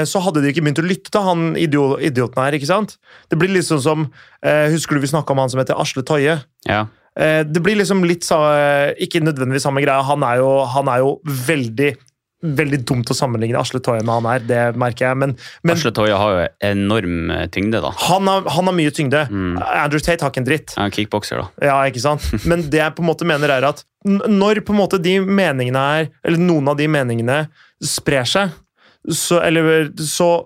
[SPEAKER 2] så hadde de ikke begynt å lytte til han idio- idioten her. ikke sant? Det blir litt sånn som eh, Husker du vi snakka om han som heter Asle Toje?
[SPEAKER 1] Ja.
[SPEAKER 2] eh, Det blir liksom litt sa- Ikke nødvendigvis samme greia. Han er jo, han er jo veldig Veldig dumt å sammenligne Asle Toje med han her, det merker jeg. Men, men
[SPEAKER 1] Asle Toje har jo enorm eh, tyngde, da.
[SPEAKER 2] han, har, han har mye tyngde.
[SPEAKER 1] Mm.
[SPEAKER 2] Andrew Tate har ikke en dritt.
[SPEAKER 1] Han er kickbokser, da.
[SPEAKER 2] Ja, ikke sant? Men det jeg på en måte mener er at n- når på en måte de meningene her, eller noen av de meningene sprer seg, så, eller, så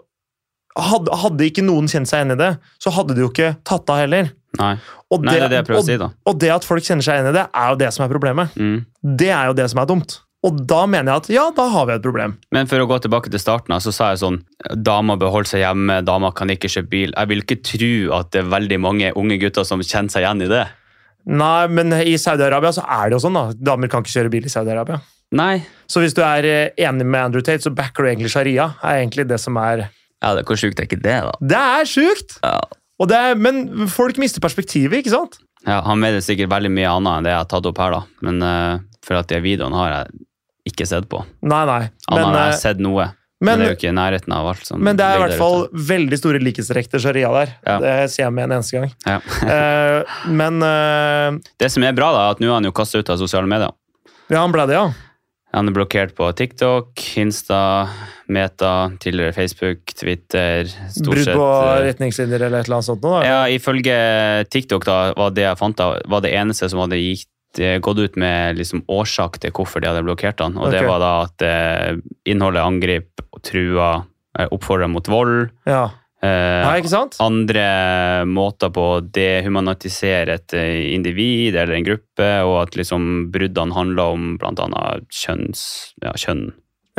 [SPEAKER 2] hadde, hadde ikke noen kjent seg enig i det, så hadde du jo ikke tatt av heller.
[SPEAKER 1] Nei.
[SPEAKER 2] Og
[SPEAKER 1] Nei, det er det jeg prøver å si,
[SPEAKER 2] og,
[SPEAKER 1] da.
[SPEAKER 2] og det at folk kjenner seg enig i det, er jo det som er problemet.
[SPEAKER 1] Mm.
[SPEAKER 2] Det er jo det som er dumt. Og da mener jeg at ja, da har vi et problem.
[SPEAKER 1] Men for å gå tilbake til starten, her, så sa jeg sånn Damer bør holde seg hjemme, damer kan ikke kjøpe bil. Jeg vil ikke tro at det er veldig mange unge gutter som kjenner seg igjen i det.
[SPEAKER 2] Nei, men i Saudi-Arabia så er det jo sånn, da. Damer kan ikke kjøre bil i Saudi-Arabia.
[SPEAKER 1] Nei.
[SPEAKER 2] Så hvis du er eh, enig med Andrew Tate, så backer du egentlig sharia. er egentlig det som er
[SPEAKER 1] Ja, det, Hvor sjukt er ikke det, da?
[SPEAKER 2] Det er sjukt!
[SPEAKER 1] Ja.
[SPEAKER 2] Og det er, men folk mister perspektivet, ikke sant?
[SPEAKER 1] Ja, Han mener sikkert veldig mye annet enn det jeg har tatt opp her, da. Men eh, for at de videoene har jeg ikke sett på.
[SPEAKER 2] Nei, nei.
[SPEAKER 1] Annet enn
[SPEAKER 2] Men,
[SPEAKER 1] jeg har
[SPEAKER 2] eh,
[SPEAKER 1] sett noe. Men,
[SPEAKER 2] men,
[SPEAKER 1] det er jo ikke i nærheten av alt som
[SPEAKER 2] men det er i
[SPEAKER 1] ligger
[SPEAKER 2] hvert
[SPEAKER 1] der
[SPEAKER 2] fall
[SPEAKER 1] ute.
[SPEAKER 2] veldig store likhetstrekk til sharia der.
[SPEAKER 1] Ja.
[SPEAKER 2] Det sier jeg med en eneste gang.
[SPEAKER 1] ja.
[SPEAKER 2] Eh, men eh,
[SPEAKER 1] Det som er bra, da, er at nå er han jo kasta ut av sosiale medier.
[SPEAKER 2] Ja, han ble det, ja.
[SPEAKER 1] Han er blokkert på TikTok, Insta, Meta, tidligere Facebook, Twitter stort
[SPEAKER 2] Brudd
[SPEAKER 1] sett,
[SPEAKER 2] på
[SPEAKER 1] eh,
[SPEAKER 2] retningslinjer eller et eller annet sånt. Nå, da.
[SPEAKER 1] Ja, Ifølge TikTok da, var det jeg fant da, var det eneste som hadde gitt, eh, gått ut med liksom, årsak til hvorfor de hadde blokkert han. Og det
[SPEAKER 2] Ok.
[SPEAKER 1] var da at eh, innholdet angrep, trua, eh, oppfordra mot vold.
[SPEAKER 2] Ja.
[SPEAKER 1] Eh,
[SPEAKER 2] Nei, ikke sant?
[SPEAKER 1] andre måter på å dehumanitisere et eh, individ eller en gruppe, og at liksom, bruddene handla om bl.a. kjønns... Ja, kjønn,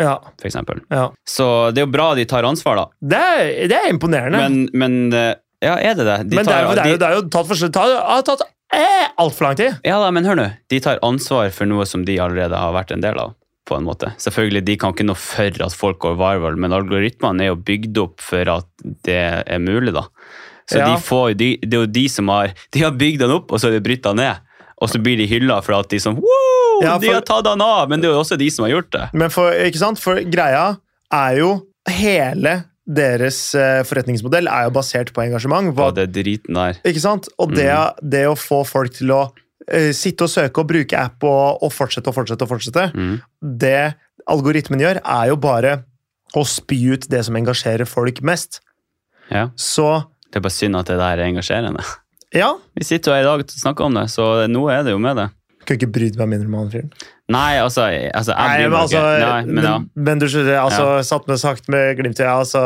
[SPEAKER 2] Ja.
[SPEAKER 1] for eksempel.
[SPEAKER 2] ja.
[SPEAKER 1] Så det er jo bra de tar ansvar, da.
[SPEAKER 2] Det, er, det er imponerende. Men,
[SPEAKER 1] Men, men eh, Ja, er det det? De
[SPEAKER 2] det, er,
[SPEAKER 1] tar-
[SPEAKER 2] jo- det, er, jo-
[SPEAKER 1] de-
[SPEAKER 2] det er jo tatt for Det har tatt eh, altfor lang tid.
[SPEAKER 1] Ja da, men hør nå. De tar ansvar for noe som de allerede har vært en del av. på en måte. Selvfølgelig, De kan ikke noe for at folk går viral, men algoritmene er jo bygd opp for at det er mulig. da. Så
[SPEAKER 2] Ja.
[SPEAKER 1] de får, de, Det er jo de som har de har bygd den opp, og så er det brytt den ned. Og så blir de hylla for at de som Woo!
[SPEAKER 2] Ja,
[SPEAKER 1] De
[SPEAKER 2] for-
[SPEAKER 1] har tatt den av! Men det er jo også de som har gjort det.
[SPEAKER 2] Men for, ikke sant? for greia er jo hele deres eh, forretningsmodell er jo basert på engasjement. Hva,
[SPEAKER 1] Og det driten der.
[SPEAKER 2] ikke sant? Og det, det å få folk til å eh, sitte og søke og bruke app og, og fortsette og fortsette og fortsette,
[SPEAKER 1] Mm.
[SPEAKER 2] det algoritmen gjør, er jo bare å spy ut det som engasjerer folk mest.
[SPEAKER 1] Ja.
[SPEAKER 2] Så
[SPEAKER 1] Det er bare synd at det der er engasjerende.
[SPEAKER 2] ja,
[SPEAKER 1] Vi sitter jo her i dag og snakker om det, så nå er det jo med det.
[SPEAKER 2] kunne ikke brydd meg mindre om han fyren.
[SPEAKER 1] Nei, altså, jeg- altså
[SPEAKER 2] Nei,
[SPEAKER 1] jeg bryr
[SPEAKER 2] men
[SPEAKER 1] meg
[SPEAKER 2] altså,
[SPEAKER 1] ikke. Nei, men ja.
[SPEAKER 2] men, men du skjønner, altså, satt med sagt med glimt i øyet, altså.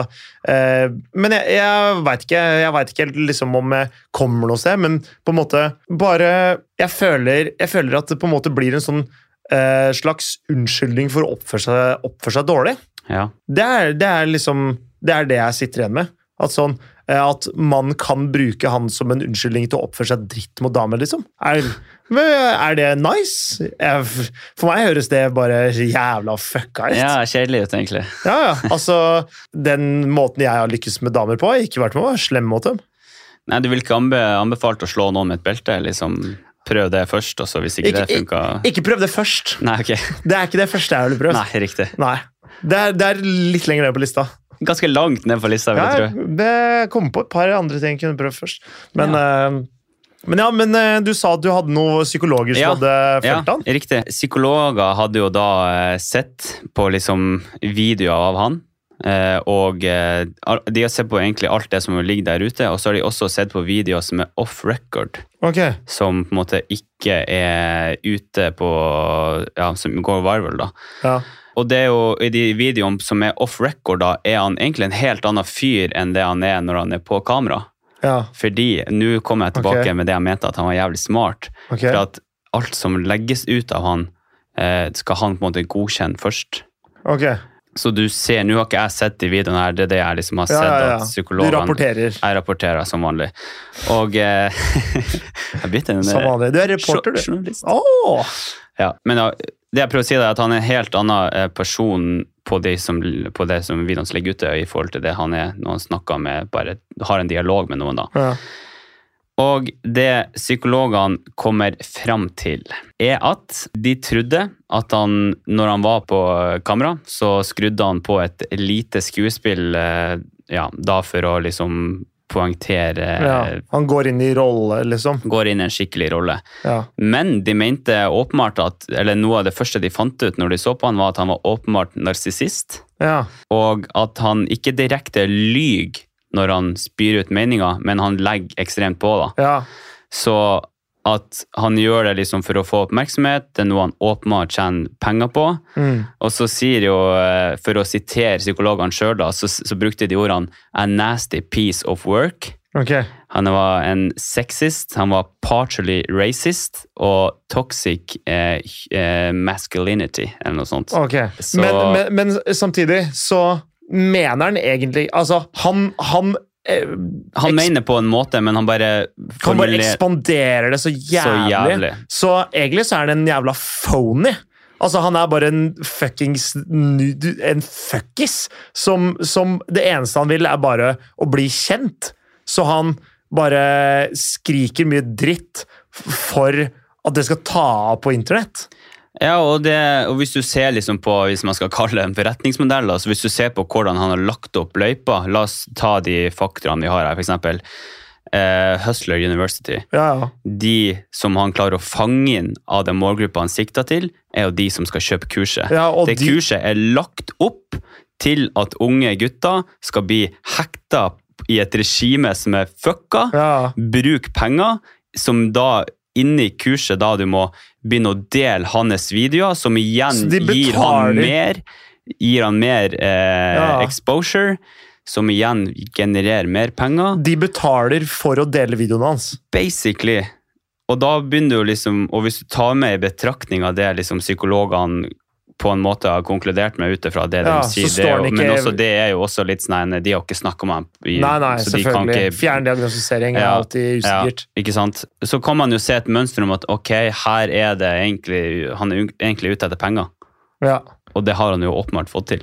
[SPEAKER 2] Eh, men jeg, jeg veit ikke, jeg vet ikke helt liksom om jeg kommer noe sted, men på en måte bare Jeg føler, jeg føler at det på en måte blir en sånn eh, slags unnskyldning for å oppføre seg, oppføre seg dårlig.
[SPEAKER 1] ja.
[SPEAKER 2] Det er, det er liksom Det er det jeg sitter igjen med. At sånn eh, at man kan bruke han som en unnskyldning til å oppføre seg dritt mot damer, liksom. Er, men er det nice? Jeg, for meg høres det bare jævla fucka ut.
[SPEAKER 1] Ja, kjedelig ut, egentlig.
[SPEAKER 2] Ja, ja. Altså, den måten jeg har lykkes med damer på, har ikke vært med å være slem mot dem.
[SPEAKER 1] Nei, du vil ikke anbe anbefalt å slå noen med et belte? liksom Prøv det først, og så hvis ikke,
[SPEAKER 2] Ikke,
[SPEAKER 1] det funka
[SPEAKER 2] ikke, ikke prøv det først.
[SPEAKER 1] Nei, ok.
[SPEAKER 2] Det er ikke det første jeg ville prøvd.
[SPEAKER 1] Nei, riktig.
[SPEAKER 2] Nei. Det, er, det er litt lenger ned på lista.
[SPEAKER 1] Ganske langt ned på lista, vil
[SPEAKER 2] Ja,
[SPEAKER 1] jeg tro.
[SPEAKER 2] det kom på et par andre ting jeg kunne prøvd først. Men ja. men, ja, men eh, du sa at du hadde noen psykologer som
[SPEAKER 1] Ja,
[SPEAKER 2] hadde
[SPEAKER 1] Ja,
[SPEAKER 2] fulgt han.
[SPEAKER 1] riktig. Psykologer hadde jo da eh, sett på liksom videoer av han. eh, Og eh, al- de har sett på egentlig alt det som ligger der ute, og så har de også sett på videoer som er off record.
[SPEAKER 2] Ok,
[SPEAKER 1] Som på en måte ikke er ute på Ja, som går viral, da.
[SPEAKER 2] ja.
[SPEAKER 1] Og det er jo i de videoene som er off record, da, er han egentlig en helt annen fyr enn det han er når han er på kamera.
[SPEAKER 2] Ja,
[SPEAKER 1] Fordi nå kommer jeg tilbake
[SPEAKER 2] Ok.
[SPEAKER 1] med det jeg mente, at han var jævlig smart.
[SPEAKER 2] ok.
[SPEAKER 1] For at alt som legges ut av han, eh, skal han på en måte godkjenne først.
[SPEAKER 2] ok.
[SPEAKER 1] Så du ser, nå har ikke jeg sett de videoene her, det er det jeg liksom har
[SPEAKER 2] Ja,
[SPEAKER 1] sett
[SPEAKER 2] ja,
[SPEAKER 1] at
[SPEAKER 2] ja. Du
[SPEAKER 1] psykologene
[SPEAKER 2] rapporterer
[SPEAKER 1] Jeg rapporterer som vanlig. Og eh, jeg er blitt en eh,
[SPEAKER 2] som vanlig. Du er reporter, du.
[SPEAKER 1] Journalist.
[SPEAKER 2] Åh!
[SPEAKER 1] Ja, men ja, det jeg prøver å si da, er at han er en helt annen eh, person på det som, på det som videoen som ligger ute, i forhold til det han er når han snakker med, bare har en dialog med noen da.
[SPEAKER 2] Ja.
[SPEAKER 1] Og det psykologene kommer fram til, er at de trodde at han, når han var på kamera, så skrudde han på et lite skuespill eh, ja, da for å liksom poengtere
[SPEAKER 2] Ja. Han går inn i rolle, liksom.
[SPEAKER 1] Går inn i en skikkelig rolle.
[SPEAKER 2] Ja.
[SPEAKER 1] Men de mente åpenbart at Eller noe av det første de fant ut når de så på han, var at han var åpenbart narsissist.
[SPEAKER 2] ja.
[SPEAKER 1] Og at han ikke direkte lyger når han spyr ut meninger, men han legger ekstremt på, da.
[SPEAKER 2] Ja.
[SPEAKER 1] Så at han gjør det liksom for å få oppmerksomhet, det er noe han åpenbart tjener penger på.
[SPEAKER 2] Mm.
[SPEAKER 1] Og så sier jo, eh, for å sitere psykologene sjøl, så, så brukte de ordene 'a nasty piece of work'.
[SPEAKER 2] Ok.
[SPEAKER 1] Han var en sexist, han var partially racist og toxic eh, eh, masculinity, eller noe sånt.
[SPEAKER 2] ok.
[SPEAKER 1] Så-
[SPEAKER 2] Men, men, men samtidig så mener han egentlig Altså, han, han eh,
[SPEAKER 1] Han
[SPEAKER 2] eks-
[SPEAKER 1] mener på en måte, men han bare
[SPEAKER 2] Han bare
[SPEAKER 1] formulerer-
[SPEAKER 2] ekspanderer det så jævlig. så
[SPEAKER 1] jævlig.
[SPEAKER 2] egentlig så er han en jævla phony. Altså, han er bare en fuckings nud- En fuckis som, som Det eneste han vil, er bare å bli kjent. Så han bare skriker mye dritt f- for at det skal ta av på internett.
[SPEAKER 1] Ja, og, det, og hvis du ser liksom på, hvis man skal kalle det en forretningsmodell, altså hvis du ser på hvordan han har lagt opp løypa, la oss ta de faktorene vi har her, for eksempel eh, Hustler University.
[SPEAKER 2] Ja, ja.
[SPEAKER 1] De som han klarer å fange inn av den målgruppa han sikter til, er jo de som skal kjøpe kurset.
[SPEAKER 2] Ja, og
[SPEAKER 1] det
[SPEAKER 2] de-
[SPEAKER 1] kurset er lagt opp til at unge gutter skal bli hekta i et regime som er fucka,
[SPEAKER 2] ja, ja.
[SPEAKER 1] bruk penger, som da inni kurset da du må begynne å dele hans videoer, som igjen
[SPEAKER 2] Så de
[SPEAKER 1] gir han
[SPEAKER 2] betaler-
[SPEAKER 1] mer, gir han mer eh,
[SPEAKER 2] Ja.
[SPEAKER 1] exposure, som igjen genererer mer penger.
[SPEAKER 2] De betaler for å dele videoene hans.
[SPEAKER 1] Basically. Og da begynner du liksom, og hvis du tar med i betraktning av det liksom psykologene på en måte har konkludert med ut ifra det
[SPEAKER 2] Ja,
[SPEAKER 1] de
[SPEAKER 2] så
[SPEAKER 1] sier, det,
[SPEAKER 2] står
[SPEAKER 1] er jo-
[SPEAKER 2] han ikke-
[SPEAKER 1] men også det er jo også litt sånn, de har ikke snakket med ham, i-
[SPEAKER 2] Nei, nei,
[SPEAKER 1] så de kan
[SPEAKER 2] selvfølgelig.
[SPEAKER 1] ikke
[SPEAKER 2] Fjerndiagnostisering er
[SPEAKER 1] Ja,
[SPEAKER 2] alltid usikkert.
[SPEAKER 1] Ja, ikke sant? Så kan man jo se et mønster om at ok, her er det egentlig, han er egentlig ute etter penger.
[SPEAKER 2] Ja.
[SPEAKER 1] Og det har han jo åpenbart fått til.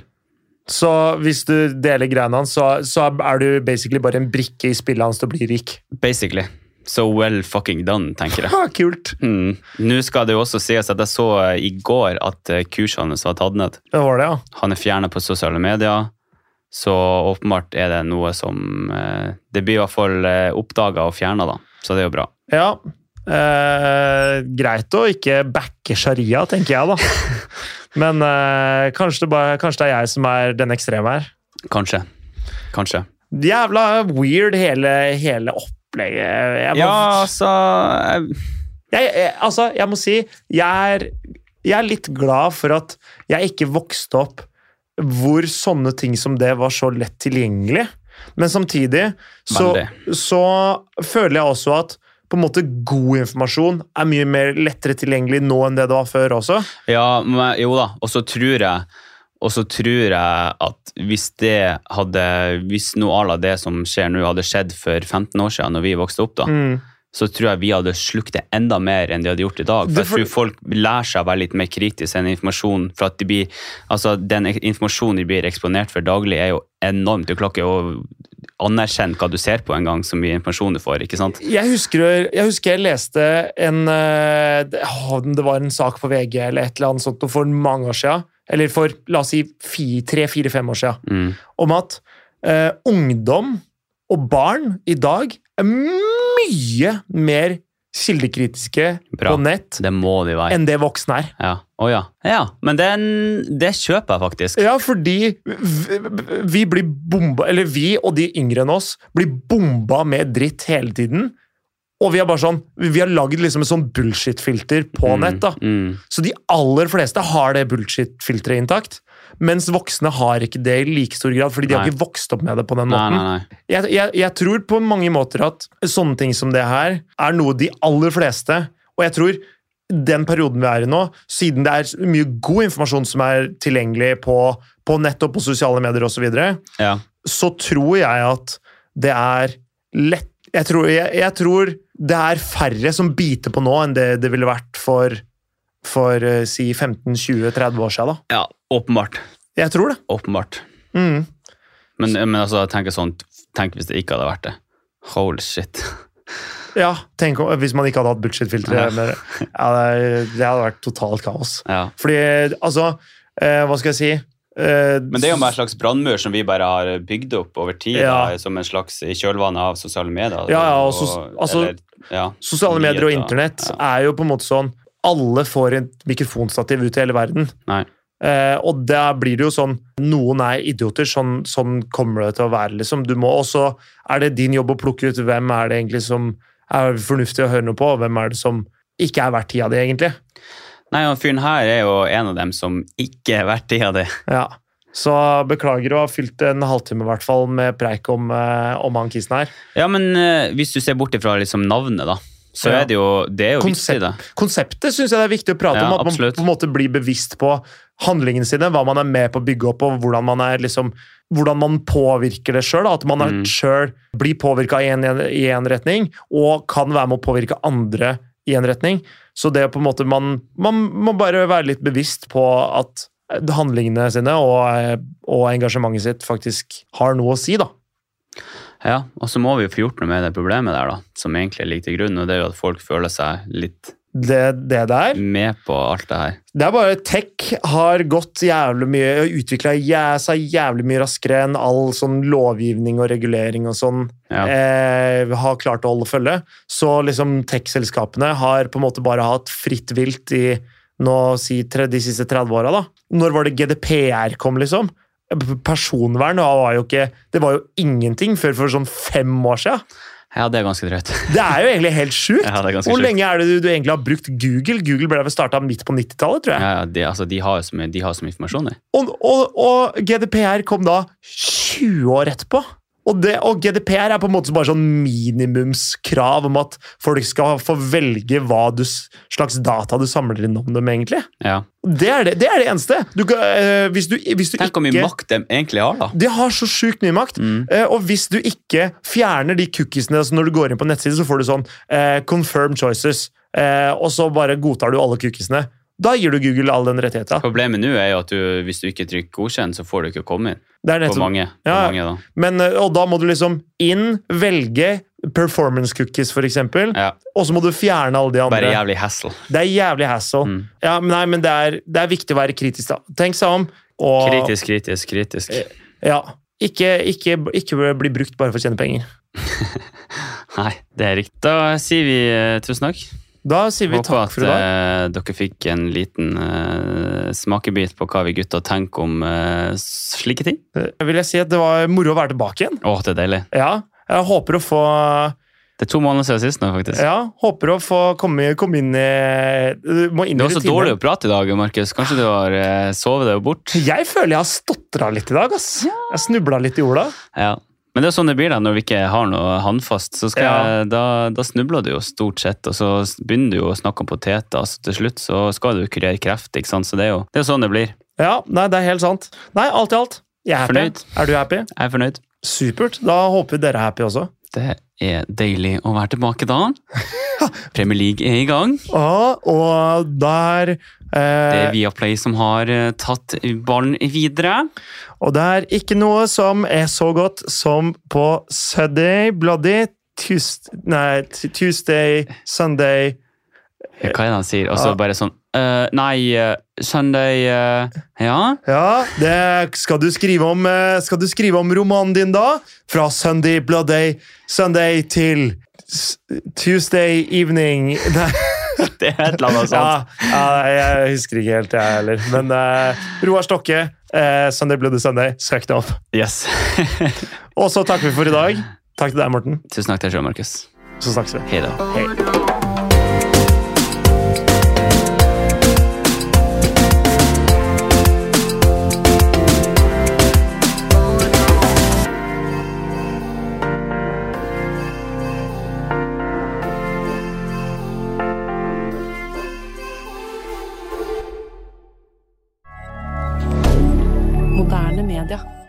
[SPEAKER 2] Så hvis du deler greiene hans, så, så er du basically bare en brikke i spillet hans til å bli rik.
[SPEAKER 1] Basically. So well fucking done, tenker jeg.
[SPEAKER 2] Ha, kult!
[SPEAKER 1] Mm. Nå skal det jo også sies at jeg så eh, i går at eh, kursene hans var tatt ned.
[SPEAKER 2] Det var det, ja.
[SPEAKER 1] Han er fjernet på sosiale medier, så åpenbart er det noe som eh, Det blir i hvert fall eh, oppdaget og fjernet, da. Så det er jo bra.
[SPEAKER 2] ja. Eh, greit å ikke backe sharia, tenker jeg, da. Men eh, kanskje, det bare, kanskje det er jeg som er den ekstreme her.
[SPEAKER 1] Kanskje. Kanskje.
[SPEAKER 2] Jævla weird hele, hele opplegget. Jeg må,
[SPEAKER 1] Ja, altså jeg-
[SPEAKER 2] jeg, jeg, altså, jeg må si jeg er, jeg er litt glad for at jeg ikke vokste opp hvor sånne ting som det var så lett tilgjengelig. Men samtidig så, så føler jeg også at på en måte god informasjon er mye mer lettere tilgjengelig nå enn det det var før også.
[SPEAKER 1] Ja, men, jo da, og så tror jeg og så tror jeg at hvis det hadde, hvis noe à la det som skjer nå, hadde skjedd for 15 år siden, når vi vokste opp, da,
[SPEAKER 2] Mm.
[SPEAKER 1] så tror jeg vi hadde slukt det enda mer enn de hadde gjort i dag. For
[SPEAKER 2] Det
[SPEAKER 1] jeg
[SPEAKER 2] for-
[SPEAKER 1] tror folk lærer seg å være litt mer kritisk enn informasjon. For at de blir, altså, den ek- informasjonen de blir eksponert for daglig, er jo enormt. Du klarer ikke å anerkjenne hva du ser på engang, så mye informasjon du får. ikke sant?
[SPEAKER 2] Jeg husker, jeg husker jeg leste en eh, det- åh, Det var en sak på VG eller et eller annet sånt for mange år siden. Eller for la oss si tre-fire-fem år siden.
[SPEAKER 1] Mm.
[SPEAKER 2] om at eh, ungdom og barn i dag er mye mer kildekritiske
[SPEAKER 1] Bra.
[SPEAKER 2] på nett
[SPEAKER 1] Det må de være.
[SPEAKER 2] enn det voksne er.
[SPEAKER 1] Ja. Å ja. ja. Men den, det kjøper jeg faktisk.
[SPEAKER 2] Ja, fordi vi, vi blir bomba Eller vi og de yngre enn oss blir bomba med dritt hele tiden. Og vi er bare sånn, vi har lagd liksom et sånn bullshit-filter på nett. da.
[SPEAKER 1] Mm, mm.
[SPEAKER 2] Så de aller fleste har det bullshit-filteret intakt. Mens voksne har ikke det i like stor grad, fordi de har
[SPEAKER 1] Nei.
[SPEAKER 2] ikke vokst opp med det på den
[SPEAKER 1] Nei,
[SPEAKER 2] måten.
[SPEAKER 1] nei, nei.
[SPEAKER 2] Jeg, jeg, jeg tror på mange måter at sånne ting som det her er noe de aller fleste Og jeg tror den perioden vi er i nå, siden det er mye god informasjon som er tilgjengelig på, på nett og på sosiale medier osv., så, videre,
[SPEAKER 1] Ja.
[SPEAKER 2] så tror jeg at det er lett jeg tror, jeg, jeg tror det er færre som biter på nå enn det det ville vært for, for eh, si 15-20-30 år siden.
[SPEAKER 1] ja, åpenbart.
[SPEAKER 2] Da. Jeg tror det.
[SPEAKER 1] Åpenbart.
[SPEAKER 2] Mm.
[SPEAKER 1] Men, men altså, jeg tenker sånn, tenk hvis det ikke hadde vært det. Holy shit.
[SPEAKER 2] Ja, tenk om, Hvis man ikke hadde hatt bullshit-filtre.
[SPEAKER 1] Ja.
[SPEAKER 2] med det. Ja, det, det hadde vært totalt kaos.
[SPEAKER 1] Ja.
[SPEAKER 2] Fordi, altså eh, Hva skal jeg si?
[SPEAKER 1] Men det er jo bare en slags brannmur som vi bare har bygd opp over tid,
[SPEAKER 2] Ja.
[SPEAKER 1] da, som en slags i kjølvannet av sosiale medier.
[SPEAKER 2] Ja, ja, og sos- altså,
[SPEAKER 1] ja.
[SPEAKER 2] Sosiale medier og
[SPEAKER 1] Nyheter,
[SPEAKER 2] internett er jo på en måte sånn Alle får et mikrofonstativ ut i hele verden.
[SPEAKER 1] Nei.
[SPEAKER 2] Eh, og da blir det jo sånn Noen er idioter, sånn, sånn kommer det til å være. liksom. Du må, Og så er det din jobb å plukke ut hvem er det egentlig som er fornuftig å høre noe på, og hvem er det som ikke er verdt tida di, egentlig.
[SPEAKER 1] Nei, og fyren her er jo en av dem som ikke er verdt tida di.
[SPEAKER 2] Ja. Så beklager å ha fylt en halvtime i hvert fall med preik om, eh, om han kissen her.
[SPEAKER 1] Ja, men eh, hvis du ser bort ifra liksom navnet, da, så
[SPEAKER 2] Ja.
[SPEAKER 1] er det jo, det er jo
[SPEAKER 2] Konsept.
[SPEAKER 1] viktig, det.
[SPEAKER 2] Konseptet syns jeg det er viktig å prate
[SPEAKER 1] Ja,
[SPEAKER 2] om. At
[SPEAKER 1] absolutt.
[SPEAKER 2] man på en måte blir bevisst på handlingene sine, hva man er med på å bygge opp, og hvordan man, er, liksom, hvordan man påvirker det sjøl. At man mm.
[SPEAKER 1] Mm.
[SPEAKER 2] sjøl blir påvirka i én retning, og kan være med å påvirke andre i en retning. Så det er på en måte man, man må bare være litt bevisst på at handlingene sine og, eh, og engasjementet sitt faktisk har noe å si, da.
[SPEAKER 1] Ja, og så må vi jo få gjort noe med det problemet der, da, som egentlig ligger til grunn, og det er jo at folk føler seg litt
[SPEAKER 2] Det, det der
[SPEAKER 1] med på alt det her.
[SPEAKER 2] Det er bare tech har gått jævlig mye og utvikla seg jævlig mye raskere enn all sånn lovgivning og regulering og sånn
[SPEAKER 1] Ja.
[SPEAKER 2] eh, har klart å holde følge. Så liksom tech-selskapene har på en måte bare hatt fritt vilt i nå si tre, de siste 30 åra, da. Når var det GDPR kom, liksom? Personvern var jo ikke Det var jo ingenting før for sånn fem år sia.
[SPEAKER 1] Ja, det er ganske drøyt.
[SPEAKER 2] Det er jo egentlig helt sjukt!
[SPEAKER 1] Ja, det er ganske
[SPEAKER 2] Hvor
[SPEAKER 1] sjukt.
[SPEAKER 2] lenge er det du, du egentlig har brukt Google? Google ble vel starta midt på 90-tallet, tror jeg.
[SPEAKER 1] Ja, ja, de, altså, de har jo så mye, de har så mye informasjon i.
[SPEAKER 2] Og, og, og GDPR kom da 20 år etterpå. Og, det, og GDPR er på en måte bare sånn minimumskrav om at folk skal få velge hva du, s- slags data du samler inn om dem, egentlig.
[SPEAKER 1] Ja.
[SPEAKER 2] Det er det, det, er det eneste. Du, kan- eh, hvis du, hvis du
[SPEAKER 1] Tenk hvor mye
[SPEAKER 2] ikke-
[SPEAKER 1] makt de egentlig har, da.
[SPEAKER 2] De har så sjukt mye makt.
[SPEAKER 1] Mm.
[SPEAKER 2] Eh, og hvis du ikke fjerner de cookiesene altså når du går inn på nettsiden, så får du sånn eh, confirm choices, eh, og så bare godtar du alle cookiesene. Da gir du Google all den rettigheta.
[SPEAKER 1] Problemet nå er jo at du, hvis du ikke trykker godkjent, så får du ikke komme inn.
[SPEAKER 2] Det er
[SPEAKER 1] På
[SPEAKER 2] nettopp
[SPEAKER 1] mange, på
[SPEAKER 2] Ja.
[SPEAKER 1] mange da.
[SPEAKER 2] Men, eh, og da må du liksom inn, velge performance cookies, for eksempel.
[SPEAKER 1] Ja,
[SPEAKER 2] Og så må du fjerne alle de
[SPEAKER 1] bare
[SPEAKER 2] andre.
[SPEAKER 1] jævlig hassle.
[SPEAKER 2] Det er jævlig hassle.
[SPEAKER 1] Mm.
[SPEAKER 2] Ja, men nei, men det er, det er viktig å være kritisk, da. Tenk seg om. Og,
[SPEAKER 1] Kritisk, kritisk, kritisk.
[SPEAKER 2] Ja. Ikke, ikke, ikke bli brukt bare for å tjene penger.
[SPEAKER 1] Nei, det er riktig. Da sier vi eh, tusen takk.
[SPEAKER 2] Da sier vi
[SPEAKER 1] Håper
[SPEAKER 2] takk
[SPEAKER 1] at
[SPEAKER 2] for i dag.
[SPEAKER 1] eh, dere fikk en liten eh, smakebit på hva vi gutter tenker om eh, slike ting.
[SPEAKER 2] Eh, Vil jeg si at det var moro å være tilbake igjen.
[SPEAKER 1] Å, det er deilig.
[SPEAKER 2] Ja. Jeg håper å få
[SPEAKER 1] Det er to måneder siden sist nå, faktisk.
[SPEAKER 2] Ja, håper å få komme, komme inn i Du må inn
[SPEAKER 1] Det
[SPEAKER 2] i
[SPEAKER 1] var så
[SPEAKER 2] rutinen.
[SPEAKER 1] dårlig å prate i dag, Markus. Kanskje du har eh, sovet deg bort?
[SPEAKER 2] Jeg føler jeg har stotra litt i dag, ass. Jeg snubla litt i jorda.
[SPEAKER 1] Ja. Men det er sånn det blir da, når vi ikke har noe håndfast. Så skal
[SPEAKER 2] Ja.
[SPEAKER 1] jeg, da, da snubler du jo stort sett, og så begynner du jo å snakke om poteter. Så til slutt så skal du kurere kreft, ikke sant? så det er jo det er jo sånn det blir.
[SPEAKER 2] Ja, nei, det er helt sant. Nei, alt i alt. Jeg er happy.
[SPEAKER 1] Fornøyd?
[SPEAKER 2] Er du happy?
[SPEAKER 1] Jeg er fornøyd.
[SPEAKER 2] Supert. Da håper vi dere er happy også.
[SPEAKER 1] Det er deilig å være tilbake da. Premier League er i gang.
[SPEAKER 2] Og, og der
[SPEAKER 1] Det
[SPEAKER 2] eh,
[SPEAKER 1] er Viaplay som har eh, tatt ballen videre.
[SPEAKER 2] Og det er ikke noe som er så godt som på Sunday, Bloody Tuesday, nei, t- Tuesday, Sunday
[SPEAKER 1] Hva er det han sier? Og så
[SPEAKER 2] Ja.
[SPEAKER 1] bare sånn eh, Nei, eh, Sunday eh, Ja?
[SPEAKER 2] Ja, det skal du skrive om eh, Skal du skrive om romanen din da? Fra Sunday, Bloody Sunday til s- Tuesday evening Nei
[SPEAKER 1] Det er et eller annet sånt.
[SPEAKER 2] Ja, ja, jeg husker ikke helt, jeg heller. Men eh, Roar Stokke, uh, Sunday Bloody Sunday, søk det opp.
[SPEAKER 1] Yes.
[SPEAKER 2] Og så takker vi for i dag. Takk til deg, Morten.
[SPEAKER 1] Tusen takk til deg sjøl, Markus.
[SPEAKER 2] Så snakkes vi.
[SPEAKER 1] Hei da.
[SPEAKER 2] Hei.
[SPEAKER 3] Moderne media.